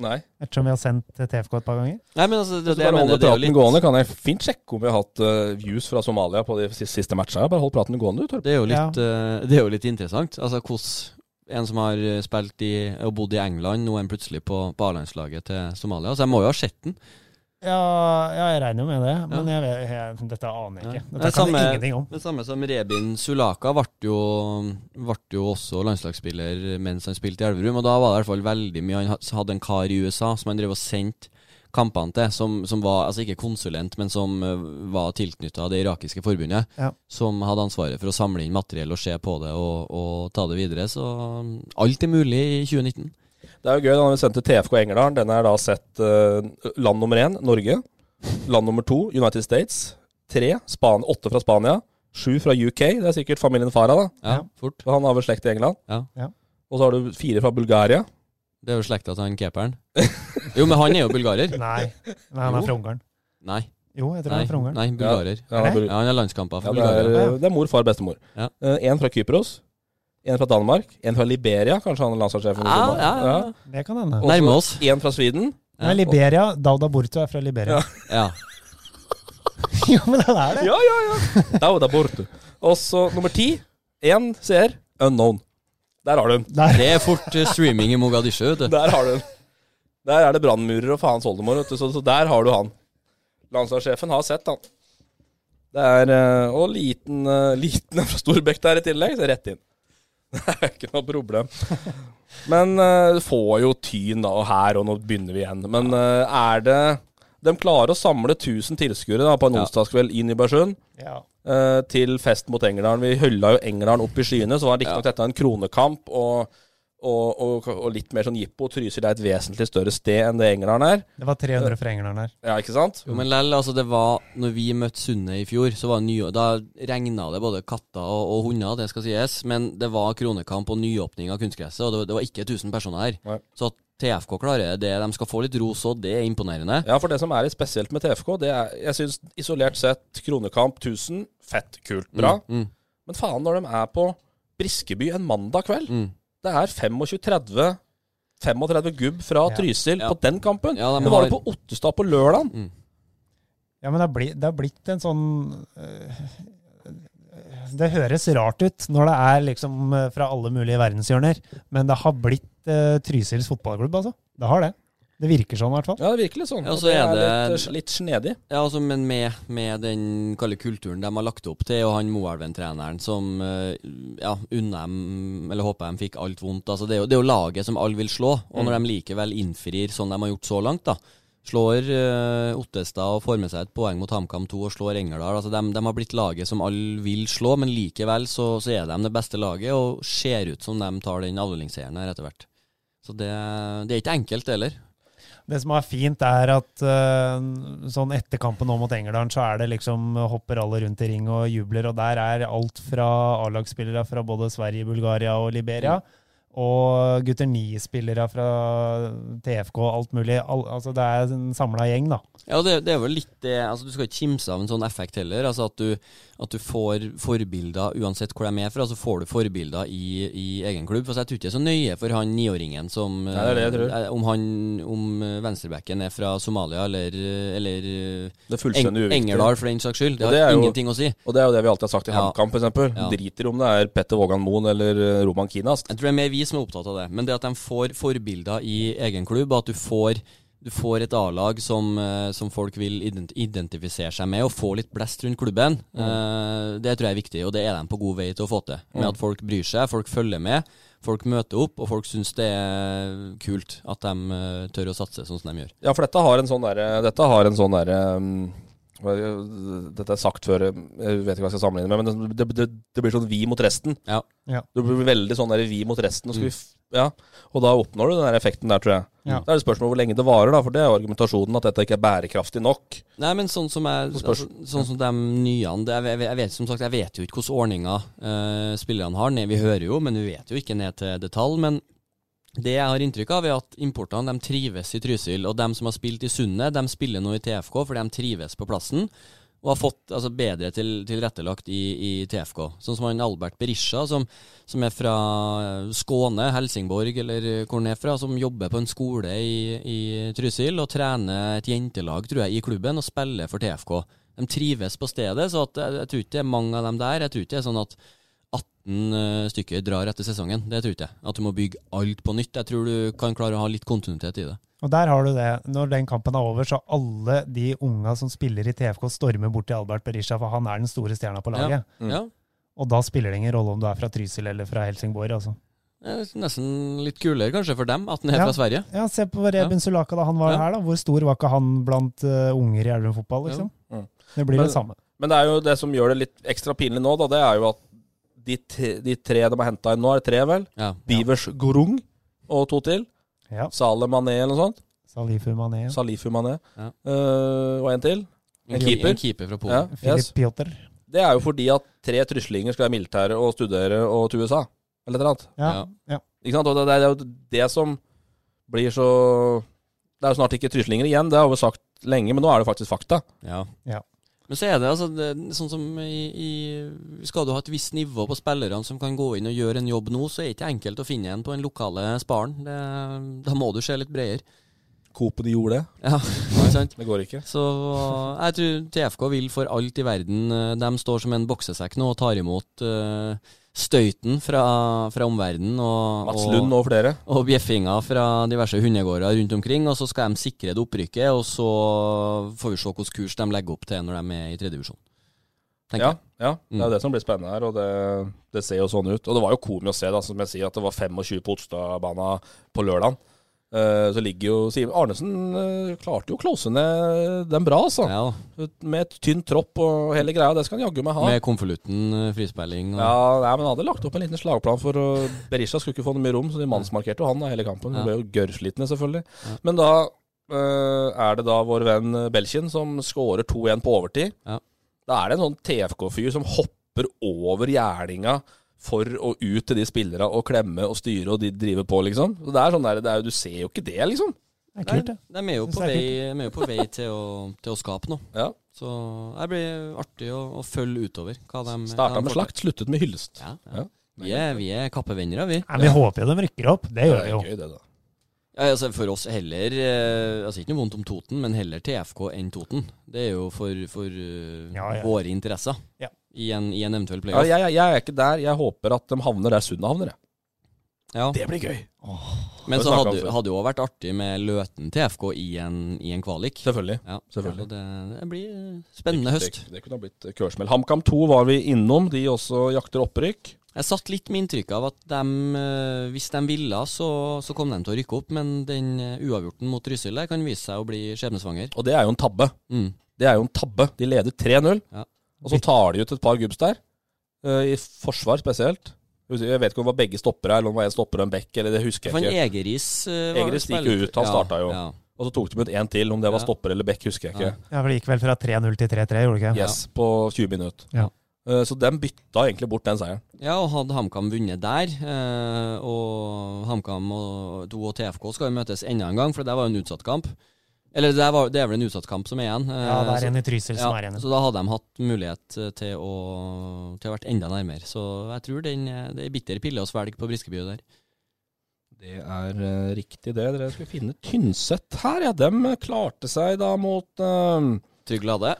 Speaker 3: Nei.
Speaker 5: Ettersom vi har sendt til TFK et par ganger.
Speaker 4: Nei, men altså, det,
Speaker 3: Hvis du
Speaker 4: det jeg
Speaker 3: bare
Speaker 4: mener,
Speaker 3: holder
Speaker 4: det er jo
Speaker 3: praten
Speaker 4: litt
Speaker 3: gående, kan jeg fint sjekke om vi har hatt eh, views fra Somalia på de siste, siste matchene. Bare hold praten gående, du, Torp.
Speaker 4: Det er jo litt, eh, det er jo litt interessant. Altså hvordan en som har eh, spilt i og bodd i England, nå er han plutselig på, på A-landslaget til Somalia. Så jeg må jo ha sett den.
Speaker 5: Ja, ja jeg regner jo med det, men jeg, vet- jeg, dette aner jeg
Speaker 4: Ja.
Speaker 5: ikke. Dette
Speaker 4: Det er
Speaker 5: kan
Speaker 4: samme-
Speaker 5: jeg ingenting om.
Speaker 4: Det samme som Rebin Sulaka ble jo, vart jo også landslagsspiller mens han spilte i Elverum, og da var det i hvert fall veldig mye Han ha- hadde en kar i USA som han drev og sendte kampene til, som, som var altså ikke konsulent, men som eh, var tilknytta det irakiske forbundet,
Speaker 5: Ja.
Speaker 4: som hadde ansvaret for å samle inn materiell og se på det og, og ta det videre. Så mm, alt er mulig i 2019.
Speaker 3: Det er jo gøy da når vi sendte TFK Engerdalen. Den er da sett eh, land nummer én, Norge. Land nummer to, United States. Tre, Span åtte fra Spania. Sju fra UK. Det er sikkert familien Farah, da.
Speaker 4: Ja,
Speaker 5: Ja.
Speaker 4: fort.
Speaker 3: For han har vel slekt i England.
Speaker 4: Ja.
Speaker 5: Ja.
Speaker 3: Og så har du fire fra Bulgaria.
Speaker 4: Det er jo slekta til han keeperen. [LAUGHS] Jo, men han er jo bulgarer.
Speaker 5: Nei, Nei han
Speaker 4: Jo.
Speaker 5: er fra Ungarn.
Speaker 4: Nei,
Speaker 5: Jo, jeg tror
Speaker 4: nei,
Speaker 5: han er fra Ungarn.
Speaker 4: nei bulgarer.
Speaker 3: Ja, det er,
Speaker 4: Ja,
Speaker 3: Bul-
Speaker 4: han har landskamper
Speaker 3: ja,
Speaker 4: for
Speaker 3: det, er, eh,
Speaker 4: Bulgaria.
Speaker 5: Bulgaria.
Speaker 3: det er mor, far, bestemor.
Speaker 4: Ja.
Speaker 3: Eh, En fra Kypros. En fra Danmark. En fra Liberia, kanskje han er landslagssjefen. i
Speaker 4: Ja,
Speaker 3: Somalia.
Speaker 4: ja, ja.
Speaker 5: Det kan hende.
Speaker 3: Og så
Speaker 4: Nærme oss.
Speaker 3: En fra Sweden.
Speaker 5: Nei, Liberia. Dauda Burto er fra [LAUGHS] Liberia.
Speaker 4: Ja.
Speaker 5: jo, men han er det!
Speaker 3: Ja, ja, ja. Det er jo der borte. Og så nummer ti. Én seer. Unknown. Der har du den.
Speaker 5: Der.
Speaker 4: Det er fort eh, streaming i Mogadishu, vet du.
Speaker 3: Der har du den. Der er det brannmurer og faens oldemor, vet du. Så, så der har du han. Landslagssjefen har sett han. Det er eh, Og liten, eh, liten [LAUGHS] er fra Storbekk der i tillegg, så rett inn. [LAUGHS] Det er ikke noe problem. Men eh, du får jo tyn da, og her, og nå begynner vi igjen. Men eh, er det De klarer å samle 1000 tilskuere da, på en
Speaker 4: Ja.
Speaker 3: onsdagskveld i Nybergsund.
Speaker 5: Ja.
Speaker 3: eh, til fest mot Engerdalen. Vi hylla jo Engerdalen opp i skyene, så var riktignok
Speaker 4: Ja.
Speaker 3: dette en kronekamp og, og, og, og litt mer sånn jippo. Trysil er et vesentlig større sted enn det Engerdalen er.
Speaker 5: Det var 300 fra England her.
Speaker 3: Ja, ikke sant?
Speaker 4: Jo, men lell, altså det var Når vi møtte Sundet i fjor, så var det nyår Da regna det både katter og, og hunder, det skal sies. Men det var kronekamp og nyåpning av kunstgresset, og det, var- det var ikke 1000 personer her.
Speaker 3: Nei.
Speaker 4: Så at TFK klarer det. De skal få litt ros òg, det er imponerende.
Speaker 3: Ja, for det som er litt spesielt med TFK, det er Jeg syns isolert sett kronekamp 1000, fett, kult, bra.
Speaker 4: Mm,
Speaker 3: Men faen, når de er på Briskeby en mandag kveld
Speaker 4: mm, mm.
Speaker 3: Det er 25-30 35 gubb fra
Speaker 5: Ja.
Speaker 3: Trysil
Speaker 4: Ja.
Speaker 3: på den kampen.
Speaker 4: Ja, de
Speaker 3: det var det
Speaker 4: har-
Speaker 3: på Ottestad på lørdag.
Speaker 5: Ja, men det har blitt, det har blitt en sånn øh, Det høres rart ut når det er liksom øh, fra alle mulige verdenshjørner, men det har blitt øh, Trysils fotballklubb, altså. Det har det. Det virker sånn, i hvert fall.
Speaker 3: Ja, det er virkelig sånn.
Speaker 4: Ja,
Speaker 3: Og
Speaker 4: så er det-
Speaker 3: litt, litt snedig.
Speaker 4: Ja, altså, men med, med den kalde kulturen de har lagt opp til, og han Moelven-treneren som eh, ja, unna dem, eller håper de fikk alt vondt altså, det, er jo, det er jo laget som alle vil slå, og når de likevel innfrir sånn de har gjort så langt, da. Slår eh, Ottestad og får med seg et poeng mot HamKam 2 og slår Engerdal. Altså, de, de har blitt laget som alle vil slå, men likevel så, så er de det beste laget og ser ut som de tar den avdelingsseieren her etter hvert. Så det, det er ikke enkelt heller.
Speaker 5: Det som er fint, er at øh, sånn etter kampen nå mot Engerdalen, så er det liksom øh, hopper alle rundt i ring og jubler, og der er alt fra A-lagsspillere fra både Sverige, Bulgaria og Liberia, og gutter 9-spillere fra TFK og alt mulig. Al altså det er en samla gjeng, da.
Speaker 4: Ja, og det, det er vel litt det altså Du skal ikke kimse av en sånn effekt heller. altså At du, at du får forbilder uansett hvor de er fra. Så får du forbilder i, i egen klubb. Altså, Jeg tror ikke det er så nøye for han niåringen som
Speaker 3: Nei, det er det jeg tror.
Speaker 4: eh, Om han om eh, venstrebacken er fra Somalia eller, eller
Speaker 3: Det er
Speaker 4: eh,
Speaker 3: fullstendig
Speaker 4: Eng-
Speaker 3: uviktig.
Speaker 4: Engerdal, for den saks skyld. Det
Speaker 3: Og
Speaker 4: har
Speaker 3: det er jo-
Speaker 4: ingenting å si.
Speaker 3: Og det er jo det vi alltid har sagt i
Speaker 4: Ja.
Speaker 3: HamKam, f.eks.
Speaker 4: Ja.
Speaker 3: Driter om det er Petter Vågan Moen eller eh, Roman Kinas.
Speaker 4: Jeg tror det er mer vi som er opptatt av det. Men det at de får forbilder i egen klubb, og at du får, du får et A-lag som, eh, som folk vil ident identifisere seg med, og få litt blest rundt klubben, eh, det tror jeg er viktig. Og det er de på god vei til å få til. Med at folk bryr seg, folk følger med, folk møter opp, og folk syns det er kult at de eh, tør å satse sånn som de gjør.
Speaker 3: Ja, for dette har en sånn derre Dette har en sånn derre um, hva- Dette er sagt før eh, Jeg vet ikke hva jeg skal sammenligne med, men det, det, det blir sånn vi mot resten.
Speaker 4: Ja.
Speaker 5: Ja.
Speaker 3: Det blir veldig sånn der vi mot resten. Og,
Speaker 4: Mm.
Speaker 3: skal vi f ja. og da oppnår du den der effekten der, tror jeg.
Speaker 5: Ja.
Speaker 3: Da er det spørsmål om hvor lenge det varer, da, for det er argumentasjonen at dette ikke er bærekraftig nok.
Speaker 4: Nei, men sånn som, jeg, altså,
Speaker 3: Spørs-
Speaker 4: sånn som de nyene det, jeg, jeg, vet, som sagt, jeg vet jo ikke hvilke ordninger eh, spillerne har. Ned, vi hører jo, men vi vet jo ikke ned til detalj. Men det jeg har inntrykk av, er at importene de trives i Trysil. Og de som har spilt i Sundet, de spiller nå i TFK fordi de trives på plassen. Og har fått altså, bedre til, tilrettelagt i, i TFK. Sånn som han Albert Berisha, som, som er fra eh, Skåne, Helsingborg eller eh, hvor han er fra, som jobber på en skole i, i Trysil og trener et jentelag, tror jeg, i klubben og spiller for TFK. De trives på stedet, så at, jeg, jeg tror ikke det er mange av dem der. Jeg tror ikke det er sånn at 18 eh, stykker drar etter sesongen. Det tror ikke jeg. At du må bygge alt på nytt. Jeg tror du kan klare å ha litt kontinuitet i det.
Speaker 5: Og der har du det. Når den kampen er over, så alle de unga som spiller i TFK, stormer bort til Albert Berisha, for han er den store stjerna på laget.
Speaker 4: Ja.
Speaker 5: Og da spiller det ingen rolle om du er fra Trysil eller fra Helsingborg, altså.
Speaker 4: Det er Nesten litt kulere kanskje for dem at den er
Speaker 5: Ja.
Speaker 4: fra Sverige.
Speaker 5: Ja, se på Reben Sulaka da han var
Speaker 4: Ja.
Speaker 5: her, da. Hvor stor var ikke han blant eh, unger i Elverum fotball, liksom?
Speaker 3: Ja. Mm.
Speaker 5: Det blir
Speaker 3: Men-
Speaker 5: det samme.
Speaker 3: Men det er jo det som gjør det litt ekstra pinlig nå, da, det er jo at de, tre, de tre de har henta inn nå, er det tre, vel?
Speaker 4: Ja.
Speaker 3: Bivers Grung og to til.
Speaker 5: Ja.
Speaker 3: Saleh Mané eller noe sånt.
Speaker 5: Salifu Mané,
Speaker 3: Salifu Mané.
Speaker 4: Ja.
Speaker 3: Eh, og en til.
Speaker 4: En,
Speaker 3: keeper.
Speaker 4: keeper. en keeper fra
Speaker 3: Ja,
Speaker 4: Polen.
Speaker 3: yes.
Speaker 5: Filip Piotr.
Speaker 3: Det er jo fordi at tre truslinger skal være militære og studere og til USA. Eller et eller annet.
Speaker 5: Ja.
Speaker 4: Ja.
Speaker 5: Ja.
Speaker 3: Ikke sant? Og det, det er jo det som blir så Det er jo snart ikke truslinger igjen, det har vi sagt lenge, men nå er det faktisk fakta.
Speaker 4: Ja.
Speaker 5: Ja.
Speaker 4: Men så er det altså det, sånn som i, i Skal du ha et visst nivå på spillerne som kan gå inn og gjøre en jobb nå, så er det ikke enkelt å finne en på den lokale sparen. Det, da må du se litt bredere.
Speaker 3: Coop de gjorde det.
Speaker 4: Ja, [LAUGHS] ikke sant?
Speaker 3: Det går ikke.
Speaker 4: Så eh, jeg tror TFK vil for alt i verden eh, De står som en boksesekk nå og tar imot eh, støyten fra, fra omverdenen og,
Speaker 3: Mats Lund
Speaker 4: og,
Speaker 3: og flere.
Speaker 4: og bjeffinga fra diverse hundegårder rundt omkring. Og så skal de sikre det opprykket, og så får vi se hvilken kurs de legger opp til når de er i tredje divisjon. Tenker
Speaker 3: Ja,
Speaker 4: jeg.
Speaker 3: ja, det er
Speaker 4: Mm.
Speaker 3: det som blir spennende her, og det, det ser jo sånn ut. Og det var jo komisk å se, da, som jeg sier, at det var 25 på Otstadbanen på lørdag. så ligger jo Siv Arnesen eh, klarte jo å close ned den bra, altså.
Speaker 4: Ja, da.
Speaker 3: Med et tynn tropp og hele greia. Det skal han jaggu meg ha.
Speaker 4: med konvolutten, eh, frispilling og
Speaker 3: Ja, nei, men han hadde lagt opp en liten slagplan for å Berisha skulle ikke få noe mye rom, så de mannsmarkerte jo han da hele kampen. De
Speaker 4: Ja.
Speaker 3: ble jo gørrslitne, selvfølgelig. Men da eh, er det da vår venn Belkin som skårer 2-1 på overtid.
Speaker 4: Ja.
Speaker 3: Da er det en sånn TFK-fyr som hopper over gjerdinga for å ut til de spillerne og klemme og styre og de driver på, liksom. Så det er sånn der, det er jo, Du ser jo ikke det, liksom.
Speaker 5: Det er kult, det.
Speaker 4: Nei, De er jo
Speaker 5: Synes
Speaker 4: på
Speaker 5: det er
Speaker 4: vei, de er jo på vei til, å, til å skape noe.
Speaker 3: Ja.
Speaker 4: Så det blir artig å, å følge utover. Hva de, hva
Speaker 3: Starta
Speaker 4: de
Speaker 3: med
Speaker 4: får til.
Speaker 3: slakt, sluttet med hyllest.
Speaker 4: Ja,
Speaker 3: Ja.
Speaker 4: ja. Vi, er, vi er kappevennere, vi.
Speaker 5: Nei, men vi håper jo de rykker opp. Det gjør
Speaker 3: Det
Speaker 5: vi
Speaker 3: er
Speaker 5: jo.
Speaker 3: gøy, det, da.
Speaker 4: Ja, altså for oss heller eh, altså Ikke noe vondt om Toten, men heller TFK enn Toten. Det er jo for, for eh,
Speaker 6: Ja, ja.
Speaker 4: våre interesser
Speaker 6: Ja.
Speaker 4: i, en, i en
Speaker 3: Ja,
Speaker 4: eventuell playoff.
Speaker 3: jeg, jeg, jeg er ikke der. Jeg håper at de havner der Sunna havner. jeg.
Speaker 4: Ja.
Speaker 3: Det blir gøy.
Speaker 4: Men
Speaker 3: Det
Speaker 4: så
Speaker 3: snakket
Speaker 4: hadde
Speaker 3: han før.
Speaker 4: hadde jo også vært artig med Løten TFK i en, i en kvalik.
Speaker 3: Selvfølgelig.
Speaker 4: Ja,
Speaker 3: Selvfølgelig.
Speaker 4: Så det, det blir eh, spennende
Speaker 3: Det,
Speaker 4: høst.
Speaker 3: det kunne ha blitt kørsmell. HamKam 2 var vi innom. De også jakter opprykk.
Speaker 4: Jeg satt litt med inntrykk av at dem, eh, hvis de ville, så, så kom de til å rykke opp. Men den eh, uavgjorten mot Trysil der kan vise seg å bli skjebnesvanger.
Speaker 3: Og det er jo en tabbe.
Speaker 4: Mm.
Speaker 3: Det er jo en tabbe. De leder 3-0,
Speaker 4: Ja.
Speaker 3: og så tar de ut et par gubbs der. eh, I forsvar spesielt. Jeg vet ikke om det var begge stoppere, eller om det var en stopper og en bekk, eller det husker
Speaker 4: For
Speaker 3: jeg ikke.
Speaker 4: en Egeris eh, var
Speaker 3: Egeris
Speaker 4: vel
Speaker 3: gikk jo
Speaker 4: spiller-
Speaker 3: ut, han starta jo.
Speaker 4: Ja,
Speaker 3: Og så tok de ut en til, om det var
Speaker 4: Ja.
Speaker 3: stopper eller bekk, husker jeg ikke.
Speaker 4: Ja.
Speaker 5: Ja, for Det gikk vel fra 3-0 til 3-3, gjorde det ikke?
Speaker 3: Yes, på 20 minutter.
Speaker 5: Ja.
Speaker 3: Eh, Så de bytta egentlig bort den seieren.
Speaker 4: Ja, og hadde HamKam vunnet der, eh, og HamKam og 2 og TFK skal jo møtes enda en gang, for det var jo en utsatt kamp. Eller det, var, det er vel en utsatt kamp som er igjen. eh,
Speaker 5: Ja, det er
Speaker 4: så-
Speaker 5: en i Trysil som
Speaker 4: ja,
Speaker 5: er igjen.
Speaker 4: Så da hadde de hatt mulighet eh, til å, til å vært enda nærmere. Så jeg tror den, eh, det er bitter pille å svelge på Briskeby der.
Speaker 3: Det er eh, riktig det. Dere skulle finne Tynset her, ja. Dem klarte seg da mot eh,
Speaker 4: Trygg Lade.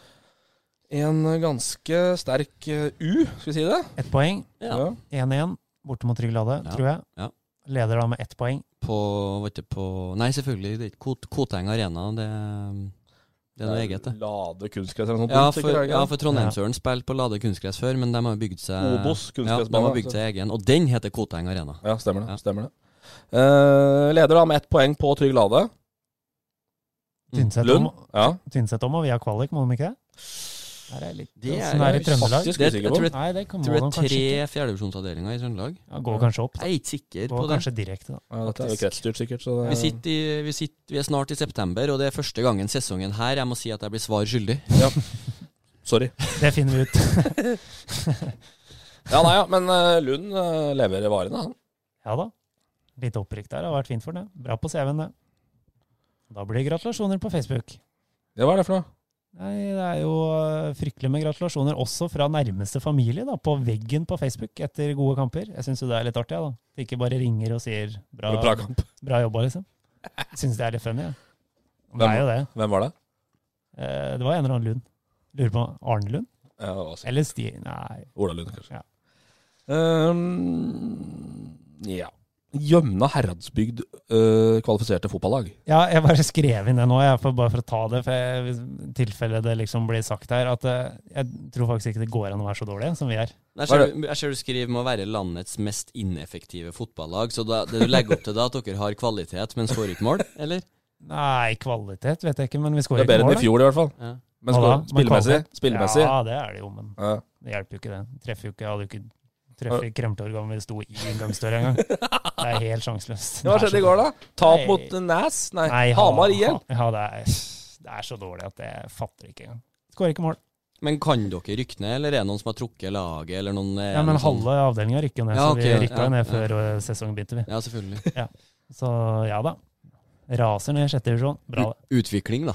Speaker 3: en ganske sterk eh, U, skal vi si det?
Speaker 5: Ett poeng.
Speaker 4: Ja.
Speaker 5: 1-1 borte mot Trygg Lade,
Speaker 4: Ja.
Speaker 5: tror jeg.
Speaker 4: Ja.
Speaker 5: Leder da med ett poeng.
Speaker 4: På, vet du, på Nei, selvfølgelig, det er ikke Kot- Koteng Arena. Det, det er noe eget, det.
Speaker 3: Lade kunstgress eller noe sånt.
Speaker 4: Ja,
Speaker 3: sikkert,
Speaker 4: for,
Speaker 3: er det ikke
Speaker 4: ja,
Speaker 3: det?
Speaker 4: for Trondheimsøren spilte på Lade kunstgress før, men de har bygd seg
Speaker 3: Obos
Speaker 4: Ja, de
Speaker 3: kunstgressbane.
Speaker 4: har bygd seg egen, og den heter Koteng Arena.
Speaker 3: Ja, stemmer det.
Speaker 4: Ja.
Speaker 3: Stemmer det. Eh, leder da med ett poeng på Trygg Lade.
Speaker 4: Mm.
Speaker 5: Tynset om,
Speaker 3: Lund. Ja.
Speaker 5: Tynset om og via kvalik, må de ikke det? Der er litt,
Speaker 4: Det
Speaker 5: Åssen Sånn er det i Trøndelag?
Speaker 3: faktisk
Speaker 4: Det,
Speaker 3: usikker
Speaker 4: jeg
Speaker 3: på.
Speaker 4: tror det,
Speaker 5: Nei, det kan
Speaker 4: jeg
Speaker 5: må
Speaker 4: tror det er
Speaker 5: de kanskje
Speaker 4: tre
Speaker 5: ikke.
Speaker 4: fjerdedivisjonsavdelinger i Trøndelag.
Speaker 5: Ja, går kanskje opp. da.
Speaker 4: Jeg er ikke sikker på
Speaker 5: Går
Speaker 4: det.
Speaker 5: kanskje direkte, da.
Speaker 3: ja, dette er jo
Speaker 5: Faktisk.
Speaker 3: kretsstyrt, sikkert. Så det,
Speaker 4: Vi, sitter i, vi, sitter, vi er snart i september, og det er første gangen sesongen her jeg må si at jeg blir svar skyldig.
Speaker 3: Sorry.
Speaker 5: Det finner vi ut.
Speaker 3: Ja, nei, ja, men eh, Lund eh, leverer varene, han.
Speaker 5: Ja da. Litt opprykk der har vært fint for det. Bra på CV-en, det. Da blir det gratulasjoner på Facebook.
Speaker 3: Ja, hva er det for noe?
Speaker 5: Nei, det er jo øh, fryktelig med gratulasjoner også fra nærmeste familie, da, på veggen på Facebook etter gode kamper. Jeg syns jo det er litt artig, jeg, da. At de ikke bare ringer og sier bra,
Speaker 3: Bra kamp.
Speaker 5: [LAUGHS] bra jobba, liksom. Syns det er litt funny, jeg. Det er jo det.
Speaker 3: Hvem var det?
Speaker 5: Eh, Det var en eller annen Lund. Lurer på Arne Lund?
Speaker 3: Ja, det var sikkert
Speaker 5: Eller Sti... Nei.
Speaker 3: Ola Lund, kanskje.
Speaker 5: Ja.
Speaker 3: Ehm, ja. Gjømna Heradsbygd eh, kvalifiserte fotballag.
Speaker 5: Ja, jeg bare skrev inn det nå, jeg, for, bare for å ta det, for jeg, i tilfelle det liksom blir sagt her, at eh, jeg tror faktisk ikke det går an å være så dårlig som vi er.
Speaker 3: Hva
Speaker 4: Jeg ser,
Speaker 3: er
Speaker 4: jeg ser du skriver med å være landets mest ineffektive fotballag, så da, det du legger opp til da, at dere har kvalitet, men skårer ikke mål, eller?
Speaker 5: Nei, kvalitet vet jeg ikke, men vi
Speaker 3: Det
Speaker 5: skårer
Speaker 3: er bedre enn i
Speaker 5: ikke mål. da.
Speaker 3: fjor, i hvert fall.
Speaker 4: Ja.
Speaker 3: Men
Speaker 5: Hva da?
Speaker 3: skå-
Speaker 5: Men
Speaker 3: spillemessig.
Speaker 5: kvalitet?
Speaker 3: Spillemessig.
Speaker 5: Ja, det er det jo, men
Speaker 3: Ja.
Speaker 5: det hjelper jo ikke det. Treffer jo ikke, jeg hadde jo ikke treffet kremtorget om vi sto i inngangsdøra engang.
Speaker 3: [LAUGHS]
Speaker 5: Det er helt sjanseløst.
Speaker 3: Hva skjedde i går, da? Tap
Speaker 5: Nei.
Speaker 3: mot Næs? Nei,
Speaker 5: Nei, ha-
Speaker 3: Hamar igjen.
Speaker 5: ha- Ja, det er, det er så dårlig at jeg fatter ikke engang. Skårer ikke mål.
Speaker 4: Men kan dere rykke ned, eller er det noen som har trukket laget, eller noen er
Speaker 5: Ja, men
Speaker 4: noen sånn-
Speaker 5: halve avdelinga rykker jo ned,
Speaker 4: Ja,
Speaker 5: så
Speaker 4: ok,
Speaker 5: vi rykka
Speaker 4: ja,
Speaker 5: ned
Speaker 4: ja.
Speaker 5: før eh, sesongen begynte, vi.
Speaker 4: Ja, selvfølgelig.
Speaker 5: Så ja da. Raser ned i sjette divisjon. Bra, det.
Speaker 4: Utvikling, da.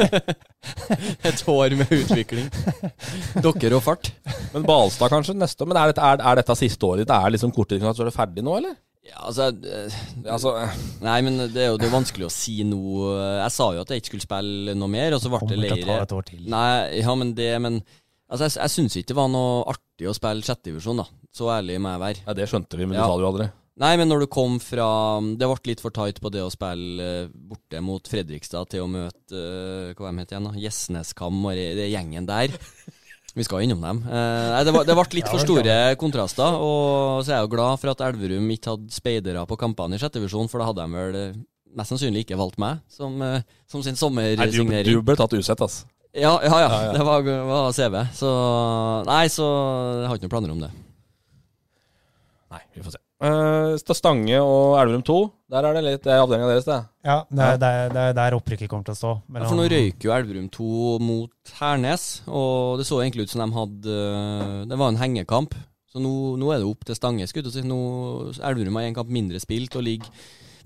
Speaker 4: [LAUGHS] Et år med utvikling. Dokker og fart.
Speaker 3: Men Balstad kanskje neste år. Men er dette, er, er dette siste året ditt? Er det liksom korttidskontrakt, så er det ferdig nå, eller?
Speaker 4: Ja, altså, eh,
Speaker 3: Altså, eh,
Speaker 4: Nei, men det er jo det er vanskelig å si nå. Jeg sa jo at jeg ikke skulle spille noe mer, og så ble
Speaker 5: Kommer
Speaker 4: det
Speaker 5: til å ta
Speaker 4: leire.
Speaker 5: et år til.
Speaker 4: Nei, ja, men det Men altså, jeg, jeg syns ikke det var noe artig å spille sjettedivisjon, da. Så ærlig må jeg være.
Speaker 3: ja, det skjønte vi, men
Speaker 4: Ja.
Speaker 3: du sa det jo aldri.
Speaker 4: Nei, men når du kom fra Det ble litt for tight på det å spille eh, borte mot Fredrikstad til å møte eh, Hva de heter igjen, da? Gjesneskam og det, det gjengen
Speaker 3: [LAUGHS]
Speaker 4: der. Vi skal innom dem. Eh, nei, det, var, det ble litt for store kontraster. Og så er jeg jo glad for at Elverum ikke hadde speidere på kampene i sjette divisjon, for da hadde de vel eh, mest sannsynlig ikke valgt meg som, eh, som sin
Speaker 3: Nei, du, du
Speaker 4: sommersignering.
Speaker 3: ble tatt usett, ass.
Speaker 4: Ja, ja, ja,
Speaker 3: ja.
Speaker 4: Det var, var CV. Så Nei, så jeg har ikke noen planer om det.
Speaker 3: Nei, vi får se. Eh, Sta- Stange og Elverum 2. Der er det litt det er avdelinga deres, det.
Speaker 5: Ja, det er, det er, det er der opprykket kommer til å stå.
Speaker 4: Ja,
Speaker 5: mellom-
Speaker 4: for nå røyk jo Elverum 2 mot Hernes, og det så egentlig ut som de hadde øh, Det var en hengekamp, så nå, nå er det opp til Stange. skulle jeg til å si. Nå- Elverum har én kamp mindre spilt og ligger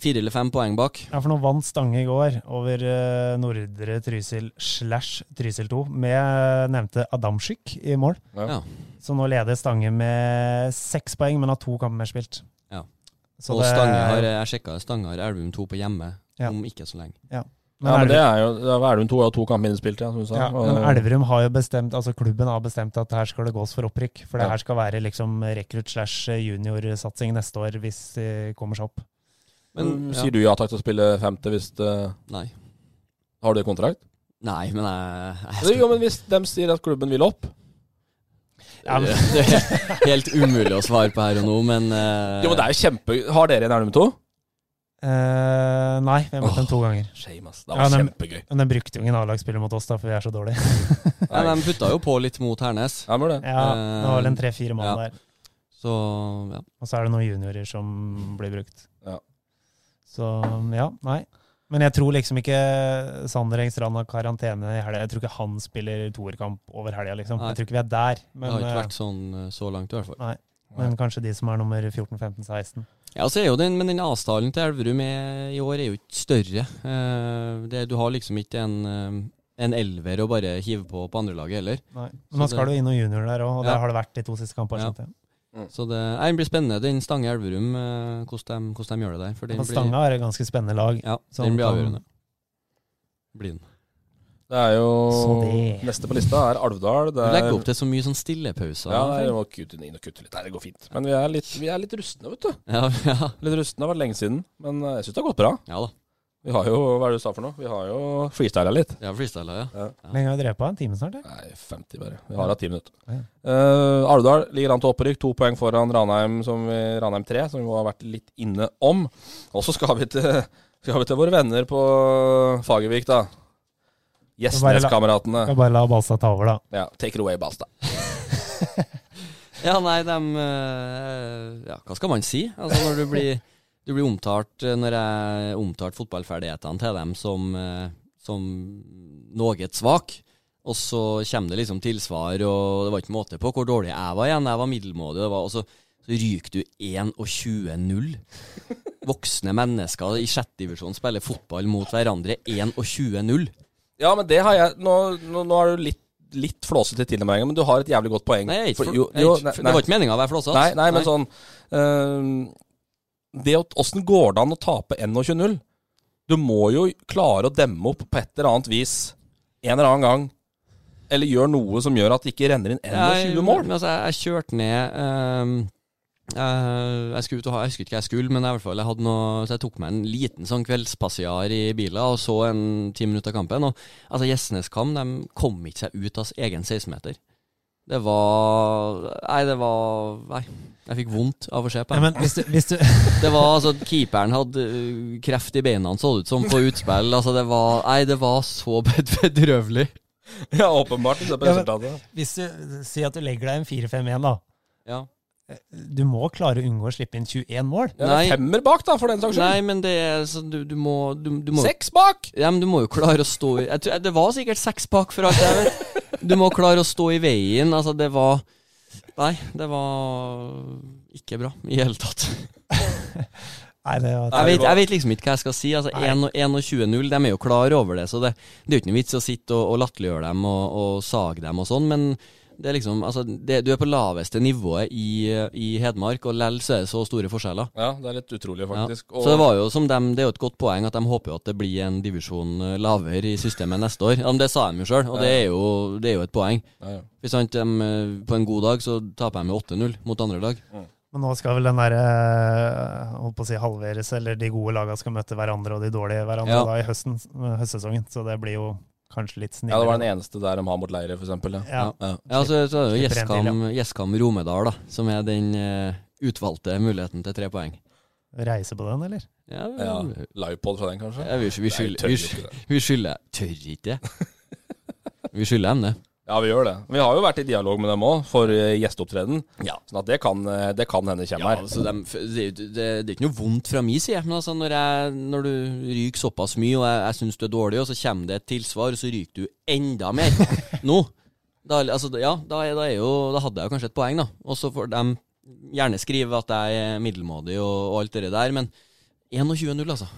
Speaker 4: fire eller fem poeng bak.
Speaker 5: Ja, for nå vant Stange i går over eh, Nordre Trysil slash Trysil 2 med eh, nevnte Adamczyk i mål.
Speaker 3: Ja.
Speaker 4: Ja.
Speaker 5: Så nå leder Stange med seks poeng, men har to kamper mer spilt.
Speaker 4: Ja.
Speaker 5: Så
Speaker 4: og
Speaker 5: det-
Speaker 4: Stange har, eh, jeg sjekka, Stange har Elverum 2 på hjemme
Speaker 5: Ja.
Speaker 4: om ikke så lenge.
Speaker 5: Ja.
Speaker 3: Ja, men det er altså- jo da er Elverum to, ja, to kamper innspilt, ja, som du sa.
Speaker 5: Ja,
Speaker 3: Og-
Speaker 5: men Elverum har jo bestemt, altså klubben har bestemt at her skal det gås for opprykk. For det
Speaker 3: Ja.
Speaker 5: her skal være liksom rekrutt slash juniorsatsing neste år, hvis de kommer seg opp. Mm,
Speaker 4: Men, ja.
Speaker 3: Mm, Sier du ja takk til å spille femte hvis det
Speaker 4: Nei.
Speaker 3: Har du kontrakt?
Speaker 4: Nei, men jeg, jeg
Speaker 3: Jo, jo, men hvis de sier at klubben vil opp
Speaker 5: Ja, men-
Speaker 4: Det er [LAUGHS] helt umulig å svare på her og nå, men eh,
Speaker 3: Jo, men det er jo kjempe Har dere en Elverum 2?
Speaker 5: Eh, nei, vi har møtt dem to ganger.
Speaker 3: Shame, ass. Det
Speaker 5: Ja,
Speaker 3: var
Speaker 5: dem-
Speaker 3: kjempegøy.
Speaker 5: Men de brukte jo ingen A-lagsspiller mot oss, da, for vi er så dårlige.
Speaker 4: [LAUGHS] Nei, men De putta jo på litt mot Hernes,
Speaker 3: Ja, men det.
Speaker 5: Ja, det var vel en tre-fire mann
Speaker 4: Ja.
Speaker 5: der.
Speaker 4: så ja.
Speaker 5: Og så er det noen juniorer som blir brukt.
Speaker 3: Ja.
Speaker 5: Så ja, nei. Men jeg tror liksom ikke Sander Engstrand har karantene i helga. Jeg tror ikke han spiller toerkamp over helga, liksom.
Speaker 4: Nei.
Speaker 5: Jeg tror ikke vi er der.
Speaker 4: Det
Speaker 5: Men,
Speaker 4: har ikke
Speaker 5: eh,
Speaker 4: vært sånn eh, så langt, i hvert fall.
Speaker 5: men kanskje de som er nummer 14, 15, 16.
Speaker 4: Ja, så er jo den, Men den avstanden til Elverum er, i år er jo ikke større. Eh, det, du har liksom ikke en, eh, en elver å bare hive på på andrelaget heller.
Speaker 5: Nei.
Speaker 4: Så
Speaker 5: Men nå skal
Speaker 4: det-
Speaker 5: det jo inn noen juniorer der òg, og
Speaker 4: Ja.
Speaker 5: der har det vært de to siste kampene.
Speaker 4: Ja.
Speaker 5: skjønte jeg.
Speaker 4: Så det, nei, det blir spennende, den Stange Elverum, eh, hvordan de, hvordan de gjør det der. For den
Speaker 5: Og
Speaker 4: blir-
Speaker 5: Stanga er et ganske spennende lag.
Speaker 4: Ja,
Speaker 5: som
Speaker 4: den blir
Speaker 5: kan-
Speaker 4: avgjørende. Blir den.
Speaker 3: Det er jo
Speaker 5: Så det-
Speaker 3: Neste på lista er Alvdal. Det
Speaker 4: Du
Speaker 3: er,
Speaker 4: legger opp til så mye sånn stillepauser.
Speaker 3: ja, det er jo å kutte inn og kutte litt. Nei, det går fint. Men vi er litt, vi er litt rustne, vet du.
Speaker 4: ja, [LAUGHS] ja.
Speaker 3: Litt rustne, det har vært lenge siden. Men eh, jeg syns det har gått bra.
Speaker 4: ja da.
Speaker 3: Vi har jo, hva er det du sa for noe? Vi har jo freestyla litt.
Speaker 4: Det er freestyle, ja.
Speaker 5: Hvor lenge har vi drevet på? En time snart? Ja.
Speaker 3: Nei, 50 bare. Vi har hatt 10 minutter.
Speaker 5: Ja.
Speaker 3: Eh, Alvdal ligger an til opprykk, to poeng foran Ranheim, som vi, Ranheim 3, som vi har vært litt inne om. Og så skal vi til, skal vi til våre venner på Fagervik, da.
Speaker 5: Bare la-
Speaker 3: Gjesneskameratene.
Speaker 5: Skal bare la Balstad ta over, da.
Speaker 3: Ja, take it away, Balstad.
Speaker 4: Ja, nei, dem eh, Ja, hva skal man si? Altså, når du blir, [LAUGHS] du blir omtalt eh, Når jeg omtalte fotballferdighetene til dem som, eh, som noe svak, og så kommer det liksom tilsvar, og det var ikke måte på hvor dårlig jeg var igjen. Jeg var middelmådig, det var, og så, så ryker du 21-0. Voksne mennesker i sjette divisjon spiller fotball mot hverandre 21-0.
Speaker 3: Ja, men det har jeg Nå, nå, nå er du litt, litt flåsete til tilnærming, men du har et jævlig godt poeng.
Speaker 4: Nei, jeg er ikke,
Speaker 3: For-
Speaker 4: for,
Speaker 3: jo-
Speaker 4: jeg er
Speaker 3: jo,
Speaker 4: ikke,
Speaker 3: nei,
Speaker 4: for,
Speaker 3: nei.
Speaker 4: det var ikke meninga å være flåsete.
Speaker 3: Nei, nei, men sånn eh, Det å- Åssen går det an å tape 21-0? Du må jo klare å demme opp på et eller annet vis en eller annen gang. Eller gjør noe som gjør at det ikke renner inn 21
Speaker 4: Jeg-
Speaker 3: mål.
Speaker 4: Men, altså, jeg, jeg kjørte ned ehm, eh, jeg, skulle ut og ha, jeg husker ikke hva jeg skulle, men jeg, i hvert fall, jeg, hadde noe, så jeg tok meg en liten sånn kveldspassiar i bilen og så en ti minutter av kampen. Og, altså, Gjesneskam de kom ikke seg ut av s- egen 16-meter. Det var Nei, det var Nei. Jeg fikk vondt av å se på.
Speaker 5: Ja,
Speaker 4: det.
Speaker 5: men hvis du, hvis du [LAUGHS]
Speaker 4: Det var altså Keeperen hadde øh, kreft i beina, så det ut som, på utspill. Altså, det var Nei, det var så [LAUGHS] bed- bedrøvelig.
Speaker 3: [LAUGHS] Ja, åpenbart. Se på
Speaker 5: Ja, men-
Speaker 3: resultatet.
Speaker 5: Hvis du sier at du legger deg en 4-5-1, da.
Speaker 4: Ja.
Speaker 5: Du må klare å unngå å slippe inn 21 mål.
Speaker 3: Ja, det
Speaker 4: Nei.
Speaker 3: er femmer bak, da, for den saks
Speaker 4: Nei,
Speaker 3: skyld.
Speaker 4: men det er så Du, du må du, du må
Speaker 3: Seks bak!
Speaker 4: Ja, men du må jo klare å stå i jeg tror, Det var sikkert seks bak for alt jeg vet. Du må klare å stå i veien. Altså, det var Nei, det var ikke bra i hele tatt.
Speaker 5: Nei, det var
Speaker 4: Jeg vet, jeg vet liksom ikke hva jeg skal si. Altså, 1 og- 21-0, de er jo klar over det, så det, det er jo ikke noe vits å sitte og, og latterliggjøre dem og, og sage dem og sånn, men det er liksom, altså, det, du er på laveste nivået i, i Hedmark, og lell så er det så store forskjeller.
Speaker 3: Ja, det er litt utrolig,
Speaker 4: Ja.
Speaker 3: faktisk. Og-
Speaker 4: Så det var jo som dem, det er jo et godt poeng at de håper jo at det blir en divisjon eh, lavere i systemet neste år. Ja, men det sa de jo sjøl, og det er jo, det er jo et poeng.
Speaker 3: Ja, ja.
Speaker 4: Hvis sant, dem, eh, på en god dag så taper de med 8-0 mot andre lag.
Speaker 5: Men nå skal vel den der eh, holdt på å si halveres, eller de gode lagene skal møte hverandre og de dårlige hverandre
Speaker 4: Ja.
Speaker 5: da i høsten, eh, høstsesongen. Så det blir jo kanskje litt
Speaker 3: Ja, det var den
Speaker 5: snillere.
Speaker 3: eneste der de har mot leire, for eksempel. Ja.
Speaker 5: Ja,
Speaker 3: Ja.
Speaker 4: Ja, altså, så, så er det jo
Speaker 5: Slipper en til,
Speaker 4: Gjesskam, Gjesskam Romedal, da, som er den eh, utvalgte muligheten til tre poeng.
Speaker 5: Reise på den, eller?
Speaker 4: Ja,
Speaker 3: Ja. Livepod fra den, kanskje?
Speaker 4: ja, vi, vi
Speaker 3: Nei,
Speaker 4: skylder
Speaker 3: tør jo
Speaker 4: vi,
Speaker 3: ikke
Speaker 4: skyld-
Speaker 3: det.
Speaker 4: vi skylder Tør ikke
Speaker 3: [LAUGHS]
Speaker 4: det. Vi skylder dem det.
Speaker 3: Ja, vi gjør det. Vi har jo vært i dialog med dem òg, for eh, gjesteopptreden. Sånn at det kan, eh, det kan hende
Speaker 4: Ja,
Speaker 3: kommer her.
Speaker 4: altså, dem, f- det, er jo- det, det er ikke noe vondt fra min side, men altså, når, jeg, når du ryker såpass mye, og jeg, jeg syns du er dårlig, og så kommer det et tilsvar, og så ryker du enda mer
Speaker 3: [LAUGHS]
Speaker 4: nå da, altså, ja, da, er, da, er jo, da hadde jeg jo kanskje et poeng, da. Og så får de gjerne skrive at jeg er middelmådig og, og alt det der, men 21-0, altså.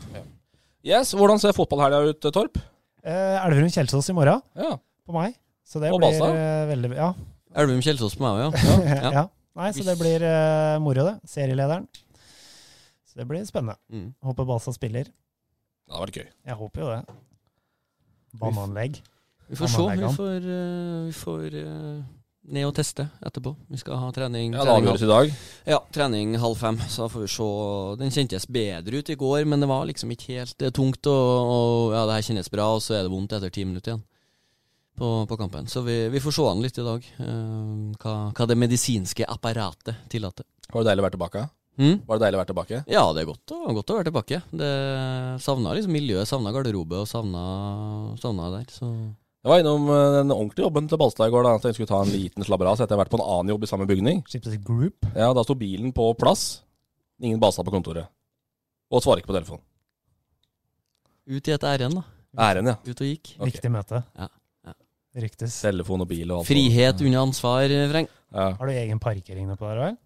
Speaker 3: Yes, Hvordan ser fotballhelga ut, eh, Torp?
Speaker 5: Eh, Elverum-Kjelsås i morgen,
Speaker 3: Ja.
Speaker 5: på meg. Så det
Speaker 3: Og
Speaker 5: blir
Speaker 3: Balstad.
Speaker 5: eh, veldig Ja.
Speaker 4: Elverum-Kjelsås på meg òg, ja.
Speaker 5: ja. Nei, så det blir eh, moro, det. Serielederen.
Speaker 7: Så det blir spennende.
Speaker 4: Mm.
Speaker 7: Håper Basa spiller.
Speaker 3: Det hadde vært gøy.
Speaker 7: Jeg håper jo det. Bananlegg.
Speaker 4: Vi får se. Vi
Speaker 7: Bananleggene.
Speaker 4: får, eh, vi får eh, ned og teste etterpå. Vi skal ha trening.
Speaker 3: Ja, det
Speaker 4: trening
Speaker 3: avgjøres i dag.
Speaker 4: Ja, trening halv fem. Så da får vi se. Den kjentes bedre ut i går, men det var liksom ikke helt eh, tungt. Og, og ja, det her kjennes bra, og så er det vondt etter ti minutter igjen på, på kampen. Så vi, vi får se an litt i dag, eh, hva, hva det medisinske apparatet tillater.
Speaker 3: Var det deilig å være tilbake?
Speaker 4: Mm?
Speaker 3: Var det deilig å være tilbake?
Speaker 4: Ja, det er godt å, godt å være tilbake. Det Savna liksom miljøet, savna garderobe og savna, savna der. Så
Speaker 3: Jeg var innom eh, den ordentlige jobben til Balstad i går. da, så Jeg skulle ta en liten slabberas etter jeg har vært på en annen jobb i samme bygning.
Speaker 7: Skipset Group.
Speaker 3: Ja, Da sto bilen på plass. Ingen Balstad på kontoret. Og svarer ikke på telefonen.
Speaker 4: ut i et ærend, da.
Speaker 3: Æren, ja.
Speaker 4: Ut og gikk.
Speaker 3: Ok.
Speaker 7: Viktig møte.
Speaker 4: Ja, ja.
Speaker 7: Ryktes.
Speaker 3: Telefon og bil og alt.
Speaker 4: Frihet under ansvar, Freng.
Speaker 3: Ja.
Speaker 7: Har du egen parkering oppå der òg?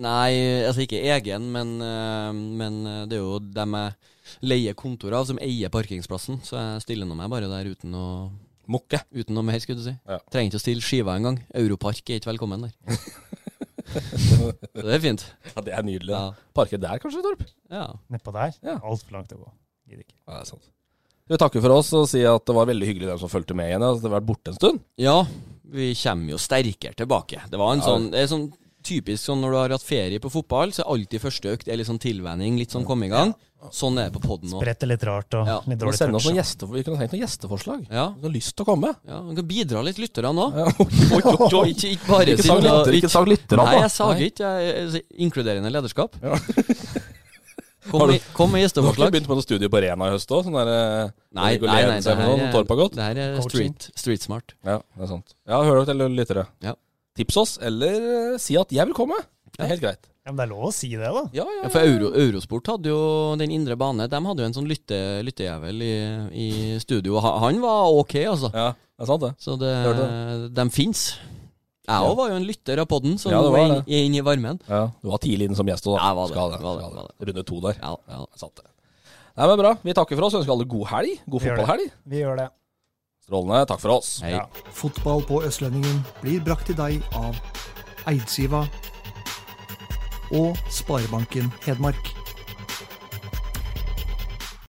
Speaker 4: Nei, altså ikke egen, men, eh, men eh, det er jo dem jeg leier kontor av, som eier parkeringsplassen. Så jeg stiller nå meg bare der uten, å,
Speaker 3: Mokke.
Speaker 4: uten noe mer, skulle du si.
Speaker 3: Ja.
Speaker 4: Trenger ikke å stille skiva engang. Europark er ikke
Speaker 3: [LAUGHS]
Speaker 4: velkommen der. så det er fint.
Speaker 3: Ja, det er nydelig.
Speaker 4: Ja.
Speaker 3: da. Parker der, kanskje, Torp?
Speaker 4: ja.
Speaker 7: Nedpå der?
Speaker 3: Ja.
Speaker 7: Altfor langt å gå. Gidder ikke.
Speaker 3: Ja, det er sant. Vi takker for oss og sier at det var veldig hyggelig dem som fulgte med igjen. Altså, det har vært borte en stund.
Speaker 4: Ja, vi kommer jo sterkere tilbake. Det var en
Speaker 3: Ja.
Speaker 4: sånn, det er sånn typisk sånn når du har hatt ferie på fotball, så er alltid første økt det er litt sånn tilvenning, litt sånn komme i gang. Sånn er det på podden nå.
Speaker 7: Bredt og litt rart og
Speaker 4: Ja,
Speaker 7: litt
Speaker 3: Vi må
Speaker 7: dårlig
Speaker 3: sende oss
Speaker 7: touch.
Speaker 3: noen gjeste, vi kunne tenkt noen gjesteforslag.
Speaker 4: Ja,
Speaker 3: Hvis Du har lyst til å komme.
Speaker 4: ja, man kan bidra litt lyttere nå.
Speaker 3: Ja, [LAUGHS] oi, oi, oi.
Speaker 4: Ikke, ikke bare
Speaker 3: Ikke sag
Speaker 4: sitte og-
Speaker 3: lytter, ikke sag lytter,
Speaker 4: Nei, jeg
Speaker 3: da.
Speaker 4: sager ikke. Jeg, jeg, inkluderende lederskap.
Speaker 3: Ja.
Speaker 4: [LAUGHS] Kom, med- kom med
Speaker 3: Du har ikke
Speaker 4: gjesteforslag.
Speaker 3: begynt på noe studie på Rena i høst òg? Sånn der eh,
Speaker 4: Nei, nei,
Speaker 3: regulere
Speaker 4: nei, det
Speaker 3: seg med noen, Torp har
Speaker 4: her er,
Speaker 3: gått?
Speaker 4: det her er
Speaker 7: Coaching.
Speaker 4: street, street smart.
Speaker 3: Ja, det er sant. Ja, hør dere til lyttere.
Speaker 4: Ja.
Speaker 3: Tips oss, eller eh, si at 'jeg vil komme'. Det er helt greit.
Speaker 7: Ja, men det er lov å si det, da.
Speaker 3: Ja, ja,
Speaker 4: Ja, for Euro, Eurosport hadde jo den indre bane. De hadde jo en sånn lytte, lyttejævel i, i studio. Ha- Han var ok, altså.
Speaker 3: ja. Det er sant, det.
Speaker 4: Så det,
Speaker 3: Hørte
Speaker 4: de fins. Jeg òg var jo en lytter av podden, så
Speaker 3: Ja,
Speaker 4: nå
Speaker 3: det
Speaker 4: er
Speaker 3: var
Speaker 4: jeg inn- jeg er inne i varmen.
Speaker 3: Ja. Du var tidlig inne som gjest òg, da.
Speaker 4: Ja, jeg var det.
Speaker 3: Skal det.
Speaker 4: Var det,
Speaker 3: Skal
Speaker 4: var
Speaker 3: det. Runde to der.
Speaker 4: Ja, ja.
Speaker 3: Det er sant, det. Nei, men bra. Vi takker for oss. Ønsker alle god helg. God
Speaker 7: Vi gjør det.
Speaker 3: fotballhelg.
Speaker 7: Vi gjør det.
Speaker 3: Strålende. Takk for oss.
Speaker 4: Hei.
Speaker 7: Ja.
Speaker 1: Fotball på Østlendingen blir brakt til deg av Eidsiva og Sparebanken Hedmark.